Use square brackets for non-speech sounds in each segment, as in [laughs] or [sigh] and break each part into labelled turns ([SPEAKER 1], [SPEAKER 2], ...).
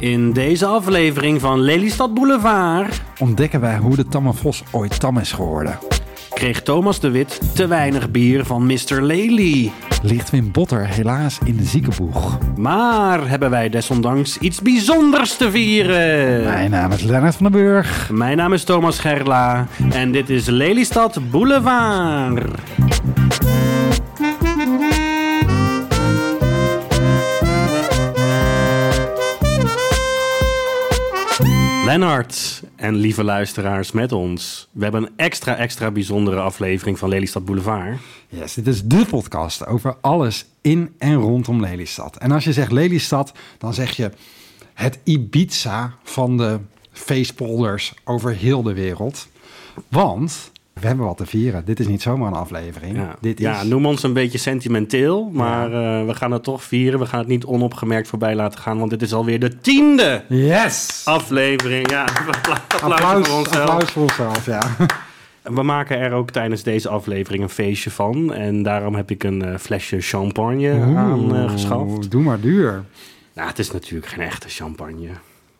[SPEAKER 1] In deze aflevering van Lelystad Boulevard
[SPEAKER 2] ontdekken wij hoe de tamme vos ooit tam is geworden.
[SPEAKER 1] kreeg Thomas de Wit te weinig bier van Mr. Lely.
[SPEAKER 2] Ligt Wim Botter helaas in de ziekenboeg.
[SPEAKER 1] Maar hebben wij desondanks iets bijzonders te vieren.
[SPEAKER 2] Mijn naam is Lennart van den Burg.
[SPEAKER 1] Mijn naam is Thomas Gerla en dit is Lelystad Boulevard. Lennart en lieve luisteraars met ons. We hebben een extra, extra bijzondere aflevering van Lelystad Boulevard.
[SPEAKER 2] Yes, dit is de podcast over alles in en rondom Lelystad. En als je zegt Lelystad, dan zeg je het Ibiza van de feestpolders over heel de wereld. Want we hebben wat te vieren. Dit is niet zomaar een aflevering.
[SPEAKER 1] Ja,
[SPEAKER 2] Dit is...
[SPEAKER 1] ja noem ons een beetje sentimenteel, maar eh, we gaan het toch vieren. We gaan het niet onopgemerkt voorbij laten gaan, want dit is alweer de tiende
[SPEAKER 2] Yes!
[SPEAKER 1] aflevering. Ja, applaus,
[SPEAKER 2] Applaus,
[SPEAKER 1] voor onszelf.
[SPEAKER 2] applaus voor onszelf, ja.
[SPEAKER 1] We maken er ook tijdens deze aflevering een feestje van. En daarom heb ik een eh, flesje champagne aan eh, geschaft.
[SPEAKER 2] Oeh, Doe maar duur.
[SPEAKER 1] Nou, het is natuurlijk geen echte champagne.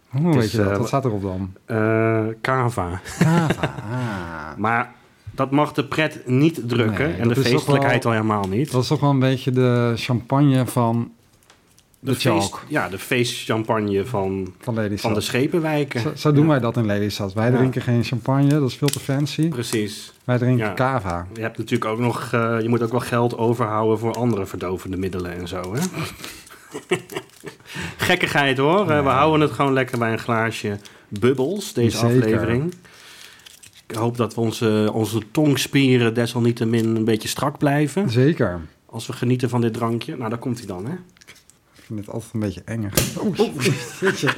[SPEAKER 2] Hoe
[SPEAKER 1] is,
[SPEAKER 2] Oh, weet je dat?
[SPEAKER 1] eh,
[SPEAKER 2] Wat staat erop dan?
[SPEAKER 1] Eh, cava.
[SPEAKER 2] Kava.
[SPEAKER 1] Maar dat mag de pret niet drukken.
[SPEAKER 2] Nee,
[SPEAKER 1] en de
[SPEAKER 2] dat is toch
[SPEAKER 1] feestelijkheid
[SPEAKER 2] wel-
[SPEAKER 1] al helemaal niet.
[SPEAKER 2] [laughs] Dat is toch wel een beetje de champagne van, de chalk.
[SPEAKER 1] ja, de feestchampagne van,
[SPEAKER 2] van Lelystad.
[SPEAKER 1] van de Schepenwijken.
[SPEAKER 2] Zo, zo doen wij dat in Lelystad. Wij
[SPEAKER 1] Ja.
[SPEAKER 2] drinken geen champagne, dat is veel te fancy.
[SPEAKER 1] Precies.
[SPEAKER 2] Wij drinken
[SPEAKER 1] Ja.
[SPEAKER 2] cava.
[SPEAKER 1] Je hebt natuurlijk ook nog, eh, je moet ook wel geld overhouden voor andere verdovende middelen en zo,
[SPEAKER 2] [laughs]
[SPEAKER 1] hè? Gekkigheid hoor. Eh, We houden het gewoon lekker bij een glaasje bubbels, deze
[SPEAKER 2] Zeker.
[SPEAKER 1] aflevering. Ik hoop dat we onze, onze tongspieren desalniettemin een beetje strak blijven.
[SPEAKER 2] Zeker.
[SPEAKER 1] Als we genieten van dit drankje. Nou, daar komt hij dan, hè? [laughs]
[SPEAKER 2] Ik vind het altijd een beetje enger. [laughs] Oeh, shitje.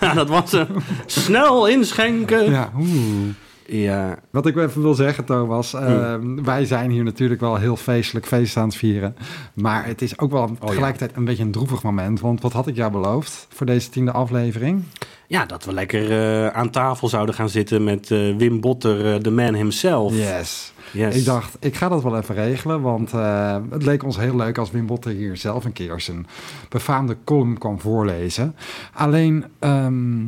[SPEAKER 1] Ja, dat was hem. Snel inschenken. Ja.
[SPEAKER 2] Ja, oeh. Wat ik even wil zeggen, Thomas. eh, Wij zijn hier natuurlijk wel heel feestelijk feest aan het vieren. Maar het is ook
[SPEAKER 1] Oh,
[SPEAKER 2] wel tegelijkertijd een beetje een droevig moment. Want wat had ik jou beloofd voor deze tiende aflevering?
[SPEAKER 1] Ja, dat we lekker eh, aan tafel zouden gaan zitten met eh, Wim Botter, eh, de man himself.
[SPEAKER 2] Yes.
[SPEAKER 1] Yes.
[SPEAKER 2] Ik dacht, ik ga dat wel even regelen, want eh, het leek ons heel leuk als Wim Botte hier zelf een keer zijn befaamde column kwam voorlezen. Alleen, ehm,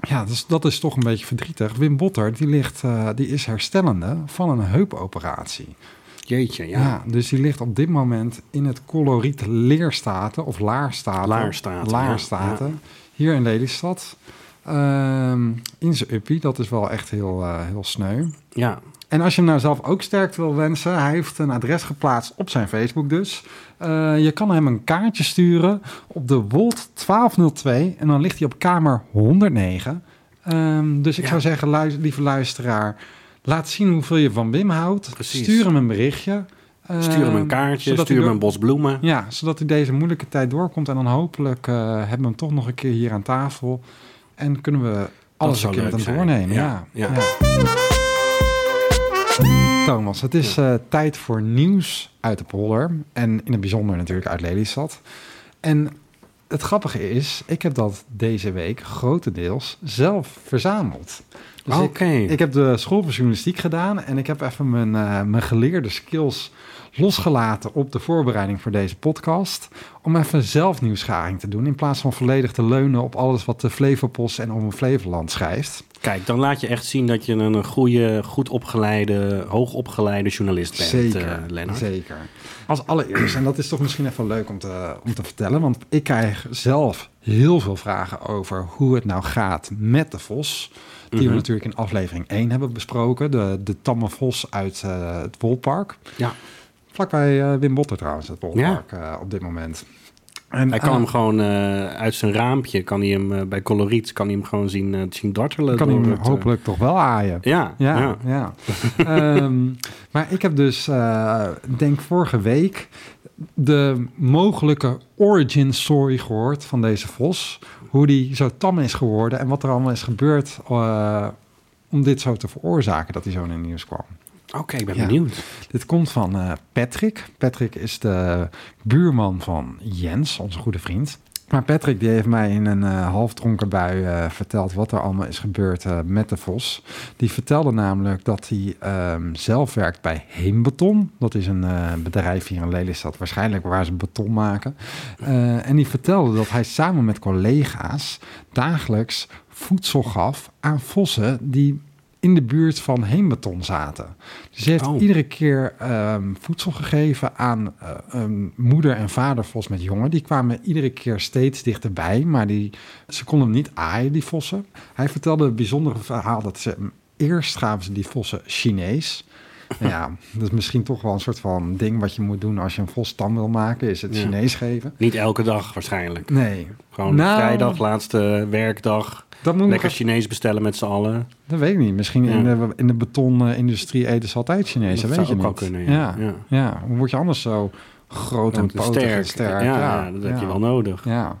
[SPEAKER 2] ja, dat is, dat is toch een beetje verdrietig. Wim Botter, die, ligt, eh, die is herstellende van een heupoperatie.
[SPEAKER 1] Jeetje,
[SPEAKER 2] Ja. dus die ligt op dit moment in het coloriet Leerstaten of Laarstaten.
[SPEAKER 1] Laarstaten,
[SPEAKER 2] Laarstaten, hier in Lelystad. Ehm, in zijn uppie, dat is wel echt heel, eh, heel sneu.
[SPEAKER 1] Ja,
[SPEAKER 2] En als je hem nou zelf ook sterkte wil wensen, hij heeft een adres geplaatst op zijn Facebook dus. Eh, je kan hem een kaartje sturen op de Wold 1202 en dan ligt hij op kamer 109. Ehm, dus ik
[SPEAKER 1] Ja.
[SPEAKER 2] zou zeggen, luis- lieve luisteraar, laat zien hoeveel je van Wim houdt.
[SPEAKER 1] Precies.
[SPEAKER 2] Stuur hem een berichtje. Ehm,
[SPEAKER 1] stuur hem een kaartje,
[SPEAKER 2] zodat
[SPEAKER 1] stuur
[SPEAKER 2] hij
[SPEAKER 1] hem
[SPEAKER 2] door-
[SPEAKER 1] een bos bloemen.
[SPEAKER 2] Ja, zodat hij deze moeilijke tijd doorkomt en dan hopelijk eh, hebben we hem toch nog een keer hier aan tafel. En kunnen we alles een
[SPEAKER 1] zou
[SPEAKER 2] keer met hem
[SPEAKER 1] leuk zijn.
[SPEAKER 2] doornemen.
[SPEAKER 1] Ja,
[SPEAKER 2] Ja,
[SPEAKER 1] ja.
[SPEAKER 2] Thomas, het is eh, tijd voor nieuws uit de polder. En in het bijzonder natuurlijk uit Lelystad. En het grappige is, ik heb dat deze week grotendeels zelf verzameld. Dus ik-
[SPEAKER 1] Oké.
[SPEAKER 2] ik, heb de school voor journalistiek gedaan en ik heb even mijn, eh, mijn geleerde skills losgelaten op de voorbereiding voor deze podcast. Om even zelf nieuwsgaring te doen in plaats van volledig te leunen op alles wat de Flevopost en Om Flevoland schrijft.
[SPEAKER 1] Kijk, dan laat je echt zien dat je een een goede, goed opgeleide, hoogopgeleide journalist bent, eh, Lennart.
[SPEAKER 2] Zeker. Als allereerst, en dat is toch misschien even leuk om te, om te vertellen, want ik krijg zelf heel veel vragen over hoe het nou gaat met de vos. Die
[SPEAKER 1] Mhm.
[SPEAKER 2] we natuurlijk in aflevering 1 hebben besproken. De, de tamme vos uit eh, het Wolpark.
[SPEAKER 1] Ja,
[SPEAKER 2] Vlakbij eh Wim Botter trouwens, het Wolpark eh, op dit moment. En,
[SPEAKER 1] hij kan
[SPEAKER 2] eh,
[SPEAKER 1] hem gewoon eh, uit zijn raampje, kan hij hem eh, bij Coloriet, kan hij hem gewoon zien, eh, zien dartelen.
[SPEAKER 2] kan
[SPEAKER 1] door
[SPEAKER 2] hij hem
[SPEAKER 1] het, eh,
[SPEAKER 2] hopelijk toch wel aaien.
[SPEAKER 1] Ja, ja.
[SPEAKER 2] Ja, ja. Ehm, maar ik heb dus, eh, denk vorige week, de mogelijke origin story gehoord van deze vos. Hoe die zo tam is geworden en wat er allemaal is gebeurd eh, om dit zo te veroorzaken dat hij zo in het nieuws kwam.
[SPEAKER 1] Oké, ik ben
[SPEAKER 2] Ja.
[SPEAKER 1] benieuwd.
[SPEAKER 2] Dit komt van eh, Patrick. Patrick is de buurman van Jens, onze goede vriend. Maar Patrick die heeft mij in een eh halfdronken bui eh, verteld wat er allemaal is gebeurd eh, met de vos. Die vertelde namelijk dat hij ehm, zelf werkt bij Heembeton. Dat is een eh, bedrijf hier in Lelystad, waarschijnlijk waar ze beton maken. Eh, en die vertelde dat hij samen met collega's dagelijks voedsel gaf aan vossen die in de buurt van Heembeton zaten. Dus hij heeft
[SPEAKER 1] Oh.
[SPEAKER 2] iedere keer ehm, voedsel gegeven aan eh, een moeder en vader vos met jongen. Die kwamen iedere keer steeds dichterbij, maar die, ze konden hem niet aaien, die vossen. Hij vertelde een bijzonder verhaal dat ze eerst gaven ze die vossen Chinees. Nou ja,
[SPEAKER 1] [laughs]
[SPEAKER 2] dat is misschien toch wel een soort van ding wat je moet doen als je een vos tam wil maken, is het
[SPEAKER 1] Ja.
[SPEAKER 2] Chinees geven.
[SPEAKER 1] Niet elke dag waarschijnlijk.
[SPEAKER 2] Nee,
[SPEAKER 1] Gewoon
[SPEAKER 2] Nou.
[SPEAKER 1] vrijdag, laatste werkdag.
[SPEAKER 2] dat moet ik nog
[SPEAKER 1] Lekker Chinees bestellen met z'n allen.
[SPEAKER 2] Dat weet ik niet. Misschien
[SPEAKER 1] Ja.
[SPEAKER 2] in de, in de betonindustrie eten ze altijd Chinees. Dat,
[SPEAKER 1] Dat
[SPEAKER 2] weet
[SPEAKER 1] zou
[SPEAKER 2] je
[SPEAKER 1] ook
[SPEAKER 2] niet.
[SPEAKER 1] wel kunnen, ja.
[SPEAKER 2] Ja.
[SPEAKER 1] Ja.
[SPEAKER 2] Ja. Hoe word je anders zo groot en
[SPEAKER 1] Want
[SPEAKER 2] potig sterk. en sterk?
[SPEAKER 1] Ja, ja, dat heb je wel nodig.
[SPEAKER 2] Ja.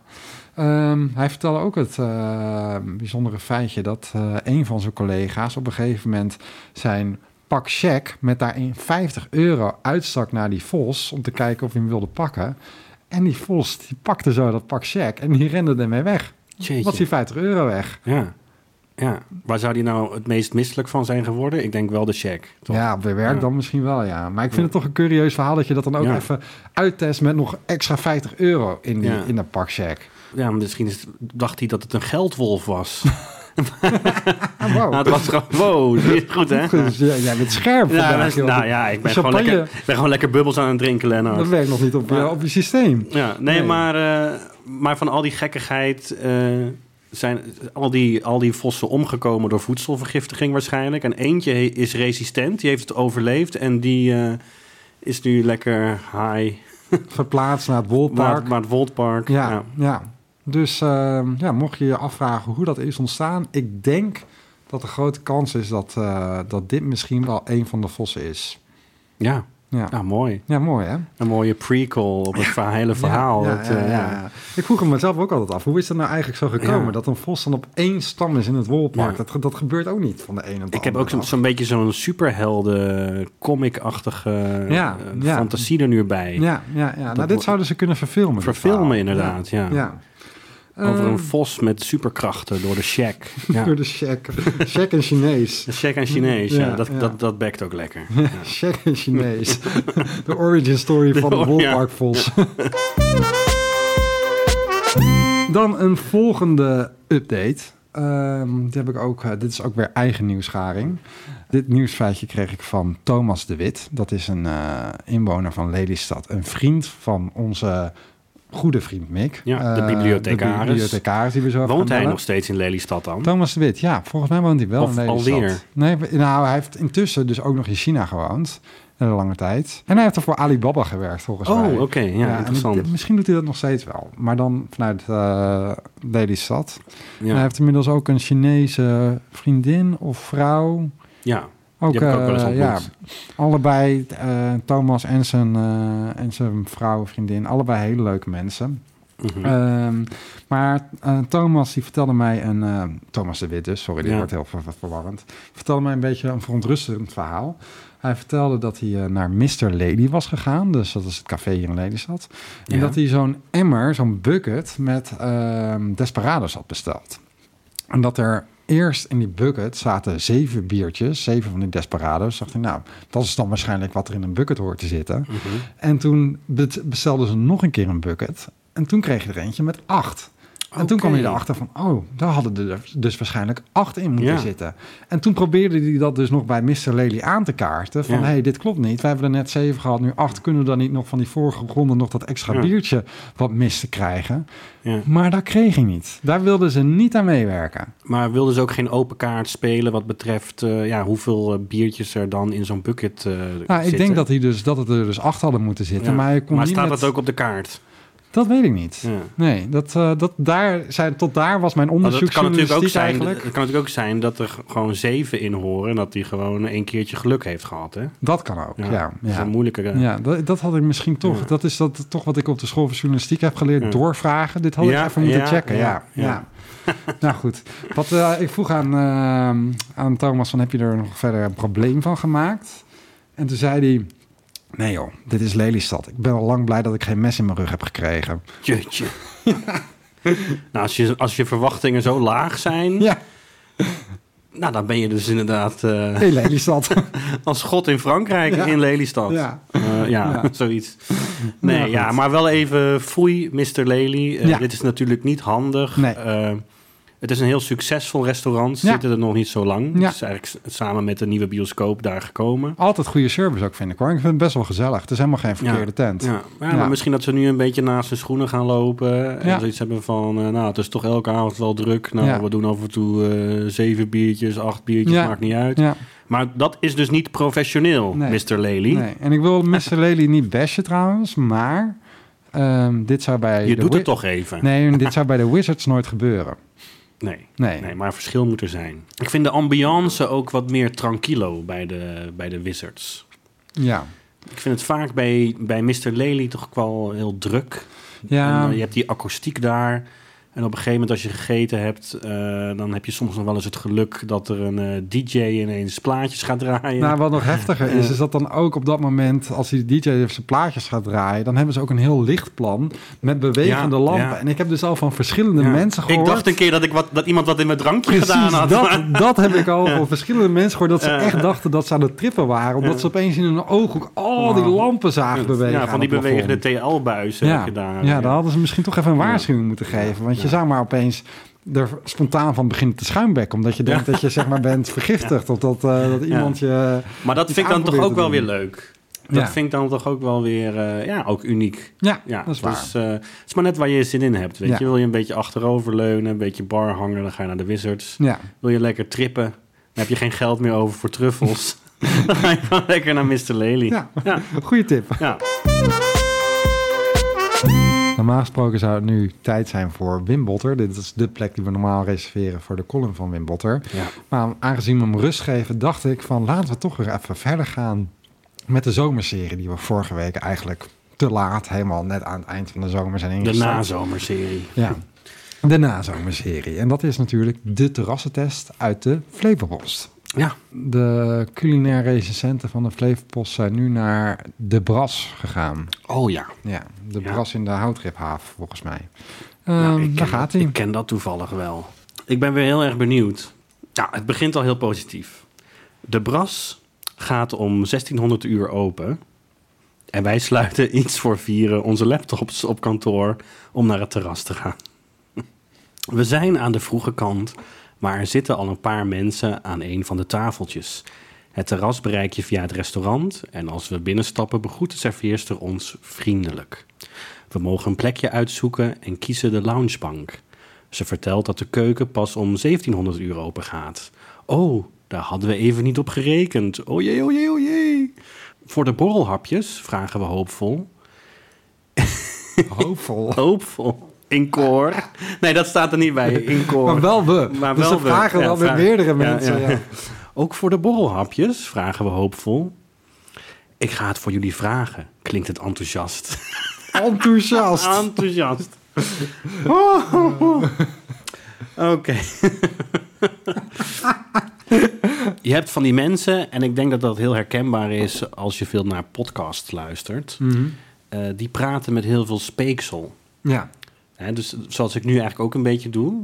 [SPEAKER 2] Ehm, hij vertelde ook het eh, bijzondere feitje dat eh, een van zijn collega's op een gegeven moment zijn pak cheque met daarin 50 euro uitstak naar die vos om te kijken of hij hem wilde pakken. En die vos die pakte zo dat pak cheque en die rende ermee weg.
[SPEAKER 1] Jeetje.
[SPEAKER 2] Wat die 50 euro weg?
[SPEAKER 1] Ja. ja. Waar zou die nou het meest misselijk van zijn geworden? Ik denk wel de check. Toch?
[SPEAKER 2] Ja, op de werk
[SPEAKER 1] Ja.
[SPEAKER 2] dan misschien wel, ja. Maar ik vind
[SPEAKER 1] Ja.
[SPEAKER 2] het toch een curieus verhaal dat je dat dan ook
[SPEAKER 1] Ja.
[SPEAKER 2] even uittest met nog extra 50 euro in, die,
[SPEAKER 1] Ja.
[SPEAKER 2] in dat pakcheck.
[SPEAKER 1] Ja, maar misschien is, dacht hij dat het een geldwolf
[SPEAKER 2] [laughs]
[SPEAKER 1] was.
[SPEAKER 2] Oh. Ah, wow.
[SPEAKER 1] Nou, het was gewoon, wow, dit is goed hè?
[SPEAKER 2] [laughs] Dus ja, jij bent scherp
[SPEAKER 1] Ja,
[SPEAKER 2] vandaag,
[SPEAKER 1] mensen-
[SPEAKER 2] joh.
[SPEAKER 1] nou ja, ik ben gewoon,
[SPEAKER 2] Champagne.
[SPEAKER 1] lekker, ik ben gewoon lekker bubbels aan het drinken,
[SPEAKER 2] Dat
[SPEAKER 1] Lennart.
[SPEAKER 2] werkt nog niet op,
[SPEAKER 1] Maar-
[SPEAKER 2] je, op je systeem.
[SPEAKER 1] Ja, nee,
[SPEAKER 2] Nee.
[SPEAKER 1] Maar, eh, maar van al die gekkigheid eh, zijn al die, al die vossen omgekomen door voedselvergiftiging waarschijnlijk. En eentje he- is resistent, die heeft het overleefd en die eh, is nu lekker high.
[SPEAKER 2] Verplaatst naar het
[SPEAKER 1] Maar,
[SPEAKER 2] Wolpark.
[SPEAKER 1] maar het Woldpark.
[SPEAKER 2] Ja, ja. Dus ehm, ja, mocht je je afvragen hoe dat is ontstaan, ik denk dat de grote kans is dat, eh, dat dit misschien wel een van de vossen is.
[SPEAKER 1] ja.
[SPEAKER 2] Ja,
[SPEAKER 1] Ja, nou, mooi.
[SPEAKER 2] ja mooi hè?
[SPEAKER 1] Een mooie prequel op het verha- hele verhaal.
[SPEAKER 2] Ja, ja,
[SPEAKER 1] Dat,
[SPEAKER 2] ja,
[SPEAKER 1] eh,
[SPEAKER 2] ja, ja. Ik vroeg hem mezelf ook altijd af. Hoe is dat nou eigenlijk zo gekomen?
[SPEAKER 1] Ja.
[SPEAKER 2] Dat een vos dan op één stam is in het wolpark.
[SPEAKER 1] Ja.
[SPEAKER 2] Dat, ge- dat gebeurt ook niet van de ene op de
[SPEAKER 1] Ik heb
[SPEAKER 2] andere
[SPEAKER 1] ook zo'n
[SPEAKER 2] dag.
[SPEAKER 1] zo'n beetje zo'n superhelden comic-achtige
[SPEAKER 2] Ja,
[SPEAKER 1] eh,
[SPEAKER 2] ja.
[SPEAKER 1] fantasie er nu bij.
[SPEAKER 2] Ja, ja, ja. nou dit
[SPEAKER 1] wordt-
[SPEAKER 2] zouden ze kunnen verfilmen. dit verhaal.
[SPEAKER 1] Verfilmen inderdaad, ja.
[SPEAKER 2] Ja. ja.
[SPEAKER 1] Over een
[SPEAKER 2] Ehm,
[SPEAKER 1] vos met superkrachten door de Shaq.
[SPEAKER 2] [laughs]
[SPEAKER 1] Ja.
[SPEAKER 2] Door de check. Check en Chinees.
[SPEAKER 1] De Shaq en Chinees, ja,
[SPEAKER 2] Ja,
[SPEAKER 1] dat,
[SPEAKER 2] ja.
[SPEAKER 1] Dat, dat bekt ook lekker.
[SPEAKER 2] [laughs] Check en Chinees. [laughs] de origin story van de
[SPEAKER 1] Oh, ja.
[SPEAKER 2] wolparkvos. [laughs] Dan een volgende update. Ehm, die heb ik ook, eh, dit is ook weer eigen nieuwsgaring. Dit nieuwsfeitje kreeg ik van Thomas de Wit. Dat is een eh, inwoner van Lelystad. Een vriend van onze goede vriend Mick.
[SPEAKER 1] Ja, de
[SPEAKER 2] Eh,
[SPEAKER 1] bibliothecaris.
[SPEAKER 2] De bibliothecaris die we zo gaan
[SPEAKER 1] Woont hij
[SPEAKER 2] bellen.
[SPEAKER 1] nog steeds in Lelystad dan?
[SPEAKER 2] Thomas de Wit, ja, volgens mij woont hij wel
[SPEAKER 1] Of
[SPEAKER 2] in Lelystad.
[SPEAKER 1] alweer.
[SPEAKER 2] Nee, nou, hij heeft intussen dus ook nog in China gewoond. Een lange tijd. En hij heeft er voor Alibaba gewerkt, volgens
[SPEAKER 1] Oh,
[SPEAKER 2] mij.
[SPEAKER 1] oké, ja,
[SPEAKER 2] en
[SPEAKER 1] interessant.
[SPEAKER 2] dit- misschien doet hij dat nog steeds wel. Maar dan vanuit eh Lelystad. En hij
[SPEAKER 1] ja.
[SPEAKER 2] heeft inmiddels ook een Chinese vriendin of vrouw.
[SPEAKER 1] ja,
[SPEAKER 2] Ook,
[SPEAKER 1] die heb ik ook wel eens
[SPEAKER 2] eh,
[SPEAKER 1] ontmoet.
[SPEAKER 2] ja, allebei, eh, Thomas en zijn, eh, en zijn vrouw of vriendin. Allebei hele leuke mensen.
[SPEAKER 1] Mhm.
[SPEAKER 2] Ehm, maar eh, Thomas die vertelde mij een. eh, Thomas de Wit dus, sorry, dit
[SPEAKER 1] Ja.
[SPEAKER 2] wordt heel ver- ver- verwarrend. Vertelde mij een beetje een verontrustend verhaal. Hij vertelde dat hij eh, naar Mr. Lady was gegaan. Dus dat is het café hier in Lelystad. En
[SPEAKER 1] Ja.
[SPEAKER 2] dat hij zo'n emmer, zo'n bucket met ehm, Desperados had besteld. En dat er eerst in die bucket zaten zeven biertjes, zeven van die Desperados. Dacht hij, nou, dat is dan waarschijnlijk wat er in een bucket hoort te zitten.
[SPEAKER 1] Mhm.
[SPEAKER 2] En toen bet- bestelden ze nog een keer een bucket. En toen kreeg je er eentje met acht. En toen kwam je
[SPEAKER 1] Oké.
[SPEAKER 2] erachter van, oh, daar hadden er dus waarschijnlijk acht in moeten
[SPEAKER 1] Ja.
[SPEAKER 2] zitten. En toen probeerde hij dat dus nog bij Mr. Lely aan te kaarten. Van,
[SPEAKER 1] Ja.
[SPEAKER 2] hé, hey, dit klopt niet. Wij hebben er net zeven gehad, nu acht. Kunnen we dan niet nog van die vorige ronde nog dat extra
[SPEAKER 1] Ja.
[SPEAKER 2] biertje wat miste krijgen?
[SPEAKER 1] Ja.
[SPEAKER 2] Maar dat kreeg hij niet. Daar wilden ze niet aan meewerken.
[SPEAKER 1] Maar wilden ze ook geen open kaart spelen wat betreft eh, ja, hoeveel eh, biertjes er dan in zo'n bucket eh
[SPEAKER 2] Nou, ik
[SPEAKER 1] zitten?
[SPEAKER 2] denk dat, hij dus, dat het er dus acht hadden moeten zitten.
[SPEAKER 1] Ja.
[SPEAKER 2] Maar, hij kon
[SPEAKER 1] Maar
[SPEAKER 2] niet
[SPEAKER 1] staat
[SPEAKER 2] met-
[SPEAKER 1] dat ook op de kaart?
[SPEAKER 2] Dat weet ik niet.
[SPEAKER 1] Ja.
[SPEAKER 2] Nee, dat, eh, dat daar zijn, tot daar was mijn
[SPEAKER 1] Maar Nou, dat
[SPEAKER 2] onderzoek
[SPEAKER 1] kan natuurlijk ook zijn. Eh,
[SPEAKER 2] eigenlijk.
[SPEAKER 1] Het kan natuurlijk ook zijn dat er gewoon zeven in horen en dat hij gewoon een keertje geluk heeft gehad. Hè?
[SPEAKER 2] Dat kan ook, ja. ja.
[SPEAKER 1] Dat is een moeilijkere.
[SPEAKER 2] Ja, dat, dat had ik misschien toch.
[SPEAKER 1] Ja.
[SPEAKER 2] Dat is dat, toch wat ik op de school van journalistiek heb geleerd.
[SPEAKER 1] Ja.
[SPEAKER 2] Doorvragen. Dit had
[SPEAKER 1] Ja,
[SPEAKER 2] ik even moeten
[SPEAKER 1] ja,
[SPEAKER 2] checken. Ja,
[SPEAKER 1] ja,
[SPEAKER 2] ja.
[SPEAKER 1] ja.
[SPEAKER 2] [laughs] nou goed. Wat, eh, ik vroeg aan, eh, aan Thomas van heb je er nog verder een probleem van gemaakt? En toen zei hij... Nee [laughs] joh, dit is Lelystad. Ik ben al lang blij dat ik geen mes in mijn rug heb gekregen.
[SPEAKER 1] Jeetje. Nou, als je, als je verwachtingen zo laag zijn,
[SPEAKER 2] Ja,
[SPEAKER 1] nou, dan ben je dus inderdaad eh,
[SPEAKER 2] heel Lelystad. [laughs]
[SPEAKER 1] als god in Frankrijk
[SPEAKER 2] Ja.
[SPEAKER 1] in Lelystad.
[SPEAKER 2] ja.
[SPEAKER 1] Eh, ja,
[SPEAKER 2] Ja.
[SPEAKER 1] [laughs] zoiets. Nee,
[SPEAKER 2] Nou,
[SPEAKER 1] ja,
[SPEAKER 2] goed.
[SPEAKER 1] maar wel even foei, Mr. Lely. Eh,
[SPEAKER 2] Ja.
[SPEAKER 1] Dit is natuurlijk niet handig.
[SPEAKER 2] Nee.
[SPEAKER 1] Eh, het is een heel succesvol restaurant.
[SPEAKER 2] Ja.
[SPEAKER 1] Zitten er nog niet zo lang.
[SPEAKER 2] Ja.
[SPEAKER 1] Het is eigenlijk s- samen met de nieuwe bioscoop daar gekomen.
[SPEAKER 2] Altijd goede service ook, vind ik hoor. Ik vind het best wel gezellig. Het is helemaal geen verkeerde tent.
[SPEAKER 1] Ja, maar,
[SPEAKER 2] Ja.
[SPEAKER 1] maar misschien dat ze nu een beetje naast hun schoenen gaan lopen. En
[SPEAKER 2] Ja.
[SPEAKER 1] zoiets hebben van, eh, nou, het is toch elke avond wel druk. Nou,
[SPEAKER 2] Ja.
[SPEAKER 1] we doen af en toe eh, zeven biertjes, acht biertjes,
[SPEAKER 2] Ja.
[SPEAKER 1] maakt niet uit.
[SPEAKER 2] Ja,
[SPEAKER 1] Maar dat is dus niet professioneel,
[SPEAKER 2] Nee.
[SPEAKER 1] Mr. Lely.
[SPEAKER 2] nee. En ik wil Mr.
[SPEAKER 1] [laughs]
[SPEAKER 2] Lely niet bashen trouwens, maar ehm, dit zou bij...
[SPEAKER 1] Je
[SPEAKER 2] de
[SPEAKER 1] doet
[SPEAKER 2] Wi-
[SPEAKER 1] het toch even. [laughs]
[SPEAKER 2] Nee, dit zou bij de Wizards nooit gebeuren.
[SPEAKER 1] nee.
[SPEAKER 2] Nee.
[SPEAKER 1] Nee, maar verschil moet er zijn. Ik vind de ambiance ook wat meer tranquilo bij de, bij de Wizards.
[SPEAKER 2] Ja.
[SPEAKER 1] Ik vind het vaak bij, bij Mr. Lely toch wel heel druk.
[SPEAKER 2] Ja.
[SPEAKER 1] En, eh, je hebt die akoestiek daar. En op een gegeven moment als je gegeten hebt... eh, dan heb je soms nog wel eens het geluk dat er een eh, DJ ineens plaatjes gaat draaien.
[SPEAKER 2] Nou, wat nog heftiger is, is dat dan ook op dat moment, als die DJ zijn plaatjes gaat draaien, dan hebben ze ook een heel lichtplan met bewegende
[SPEAKER 1] Ja,
[SPEAKER 2] lampen.
[SPEAKER 1] ja.
[SPEAKER 2] En ik heb dus al van verschillende
[SPEAKER 1] Ja.
[SPEAKER 2] mensen gehoord.
[SPEAKER 1] Ik dacht een keer dat, ik wat, dat iemand wat in mijn drankje
[SPEAKER 2] Precies,
[SPEAKER 1] gedaan had.
[SPEAKER 2] dat, dat heb ik
[SPEAKER 1] [laughs]
[SPEAKER 2] al van verschillende mensen gehoord. Dat ze
[SPEAKER 1] Ja.
[SPEAKER 2] echt dachten dat ze aan het trippen waren. Omdat
[SPEAKER 1] Ja.
[SPEAKER 2] ze opeens in hun ooghoek al die
[SPEAKER 1] Wow.
[SPEAKER 2] lampen zagen bewegen.
[SPEAKER 1] ja,
[SPEAKER 2] aan
[SPEAKER 1] van die
[SPEAKER 2] het plafond.
[SPEAKER 1] bewegende TL-buizen
[SPEAKER 2] Ja,
[SPEAKER 1] heb je daar. eh,
[SPEAKER 2] ja, dan hadden ze misschien toch even een
[SPEAKER 1] Ja.
[SPEAKER 2] waarschuwing moeten geven. Want je
[SPEAKER 1] Ja.
[SPEAKER 2] zou maar opeens er spontaan van beginnen te schuimbekken. Omdat je denkt dat je zeg maar bent vergiftigd. Of dat, eh, dat iemand je...
[SPEAKER 1] Maar dat
[SPEAKER 2] Iets
[SPEAKER 1] vind ik dan toch
[SPEAKER 2] aanprobeert
[SPEAKER 1] ook
[SPEAKER 2] te
[SPEAKER 1] wel weer
[SPEAKER 2] doen.
[SPEAKER 1] leuk. Dat
[SPEAKER 2] Ja,
[SPEAKER 1] vind ik dan toch ook wel weer eh, ja, ook uniek.
[SPEAKER 2] ja,
[SPEAKER 1] Ja,
[SPEAKER 2] dat is waar.
[SPEAKER 1] Dus, eh, het is maar net waar je zin in hebt. Weet
[SPEAKER 2] Ja.
[SPEAKER 1] je, wil je een beetje achteroverleunen, een beetje bar hangen, dan ga je naar de Wizards.
[SPEAKER 2] ja.
[SPEAKER 1] Wil je lekker trippen, dan heb je geen geld meer over voor
[SPEAKER 2] [laughs]
[SPEAKER 1] truffels. [laughs] dan ga je gewoon lekker naar Mr. Lely.
[SPEAKER 2] Ja, [laughs]
[SPEAKER 1] Ja.
[SPEAKER 2] goede tip.
[SPEAKER 1] Ja.
[SPEAKER 2] Normaal gesproken zou het nu tijd zijn voor Wim Botter. Dit is de plek die we normaal reserveren voor de column van Wim Botter.
[SPEAKER 1] Ja.
[SPEAKER 2] Maar aangezien we hem rust geven, dacht ik van laten we toch weer even verder gaan met de zomerserie die we vorige week eigenlijk te laat, helemaal net aan het eind van de zomer zijn
[SPEAKER 1] De
[SPEAKER 2] ingestart.
[SPEAKER 1] nazomerserie.
[SPEAKER 2] Ja, de nazomerserie. En dat is natuurlijk de terrassentest uit de Flevopost.
[SPEAKER 1] Ja.
[SPEAKER 2] De culinaire recensenten van de Flevopost zijn nu naar de Bras gegaan.
[SPEAKER 1] Oh ja.
[SPEAKER 2] Ja, de
[SPEAKER 1] Ja.
[SPEAKER 2] Bras in de Houtriphaven volgens mij.
[SPEAKER 1] Nou,
[SPEAKER 2] Ehm,
[SPEAKER 1] ik ken
[SPEAKER 2] daar gaat
[SPEAKER 1] dat-
[SPEAKER 2] hij.
[SPEAKER 1] Ik ken dat toevallig wel. Ik ben weer heel erg benieuwd. Ja, het begint al heel positief. De Bras gaat om 1600 uur open. En wij sluiten [laughs] iets voor vieren onze laptops op kantoor om naar het terras te gaan. We zijn aan de vroege kant, maar er zitten al een paar mensen aan een van de tafeltjes. Het terras bereik je via het restaurant en als we binnenstappen begroet de serveerster ons vriendelijk. We mogen een plekje uitzoeken en kiezen de loungebank. Ze vertelt dat de keuken pas om 1700 uur open gaat. Oh, daar hadden we even niet op gerekend. O jee, o jee, o jee. Voor de borrelhapjes vragen we hoopvol.
[SPEAKER 2] [laughs] Hoopvol.
[SPEAKER 1] Hoopvol. In koor. [laughs] Nee, dat staat er niet bij. In koor.
[SPEAKER 2] Maar wel we.
[SPEAKER 1] Maar
[SPEAKER 2] dus
[SPEAKER 1] wel
[SPEAKER 2] ze
[SPEAKER 1] we.
[SPEAKER 2] vragen
[SPEAKER 1] Ja,
[SPEAKER 2] wel met
[SPEAKER 1] vraag-
[SPEAKER 2] meerdere
[SPEAKER 1] ja,
[SPEAKER 2] mensen.
[SPEAKER 1] ja.
[SPEAKER 2] ja.
[SPEAKER 1] [laughs] Ook voor de borrelhapjes vragen we hoopvol. Ik ga het voor jullie vragen, klinkt het enthousiast.
[SPEAKER 2] Enthousiast. [laughs]
[SPEAKER 1] Enthousiast.
[SPEAKER 2] Oh.
[SPEAKER 1] Oké. je hebt van die mensen, en ik denk dat dat heel herkenbaar is als je veel naar podcasts luistert.
[SPEAKER 2] Mhm.
[SPEAKER 1] eh, die praten met heel veel speeksel.
[SPEAKER 2] Ja.
[SPEAKER 1] Hè, dus zoals ik nu eigenlijk ook een beetje doe.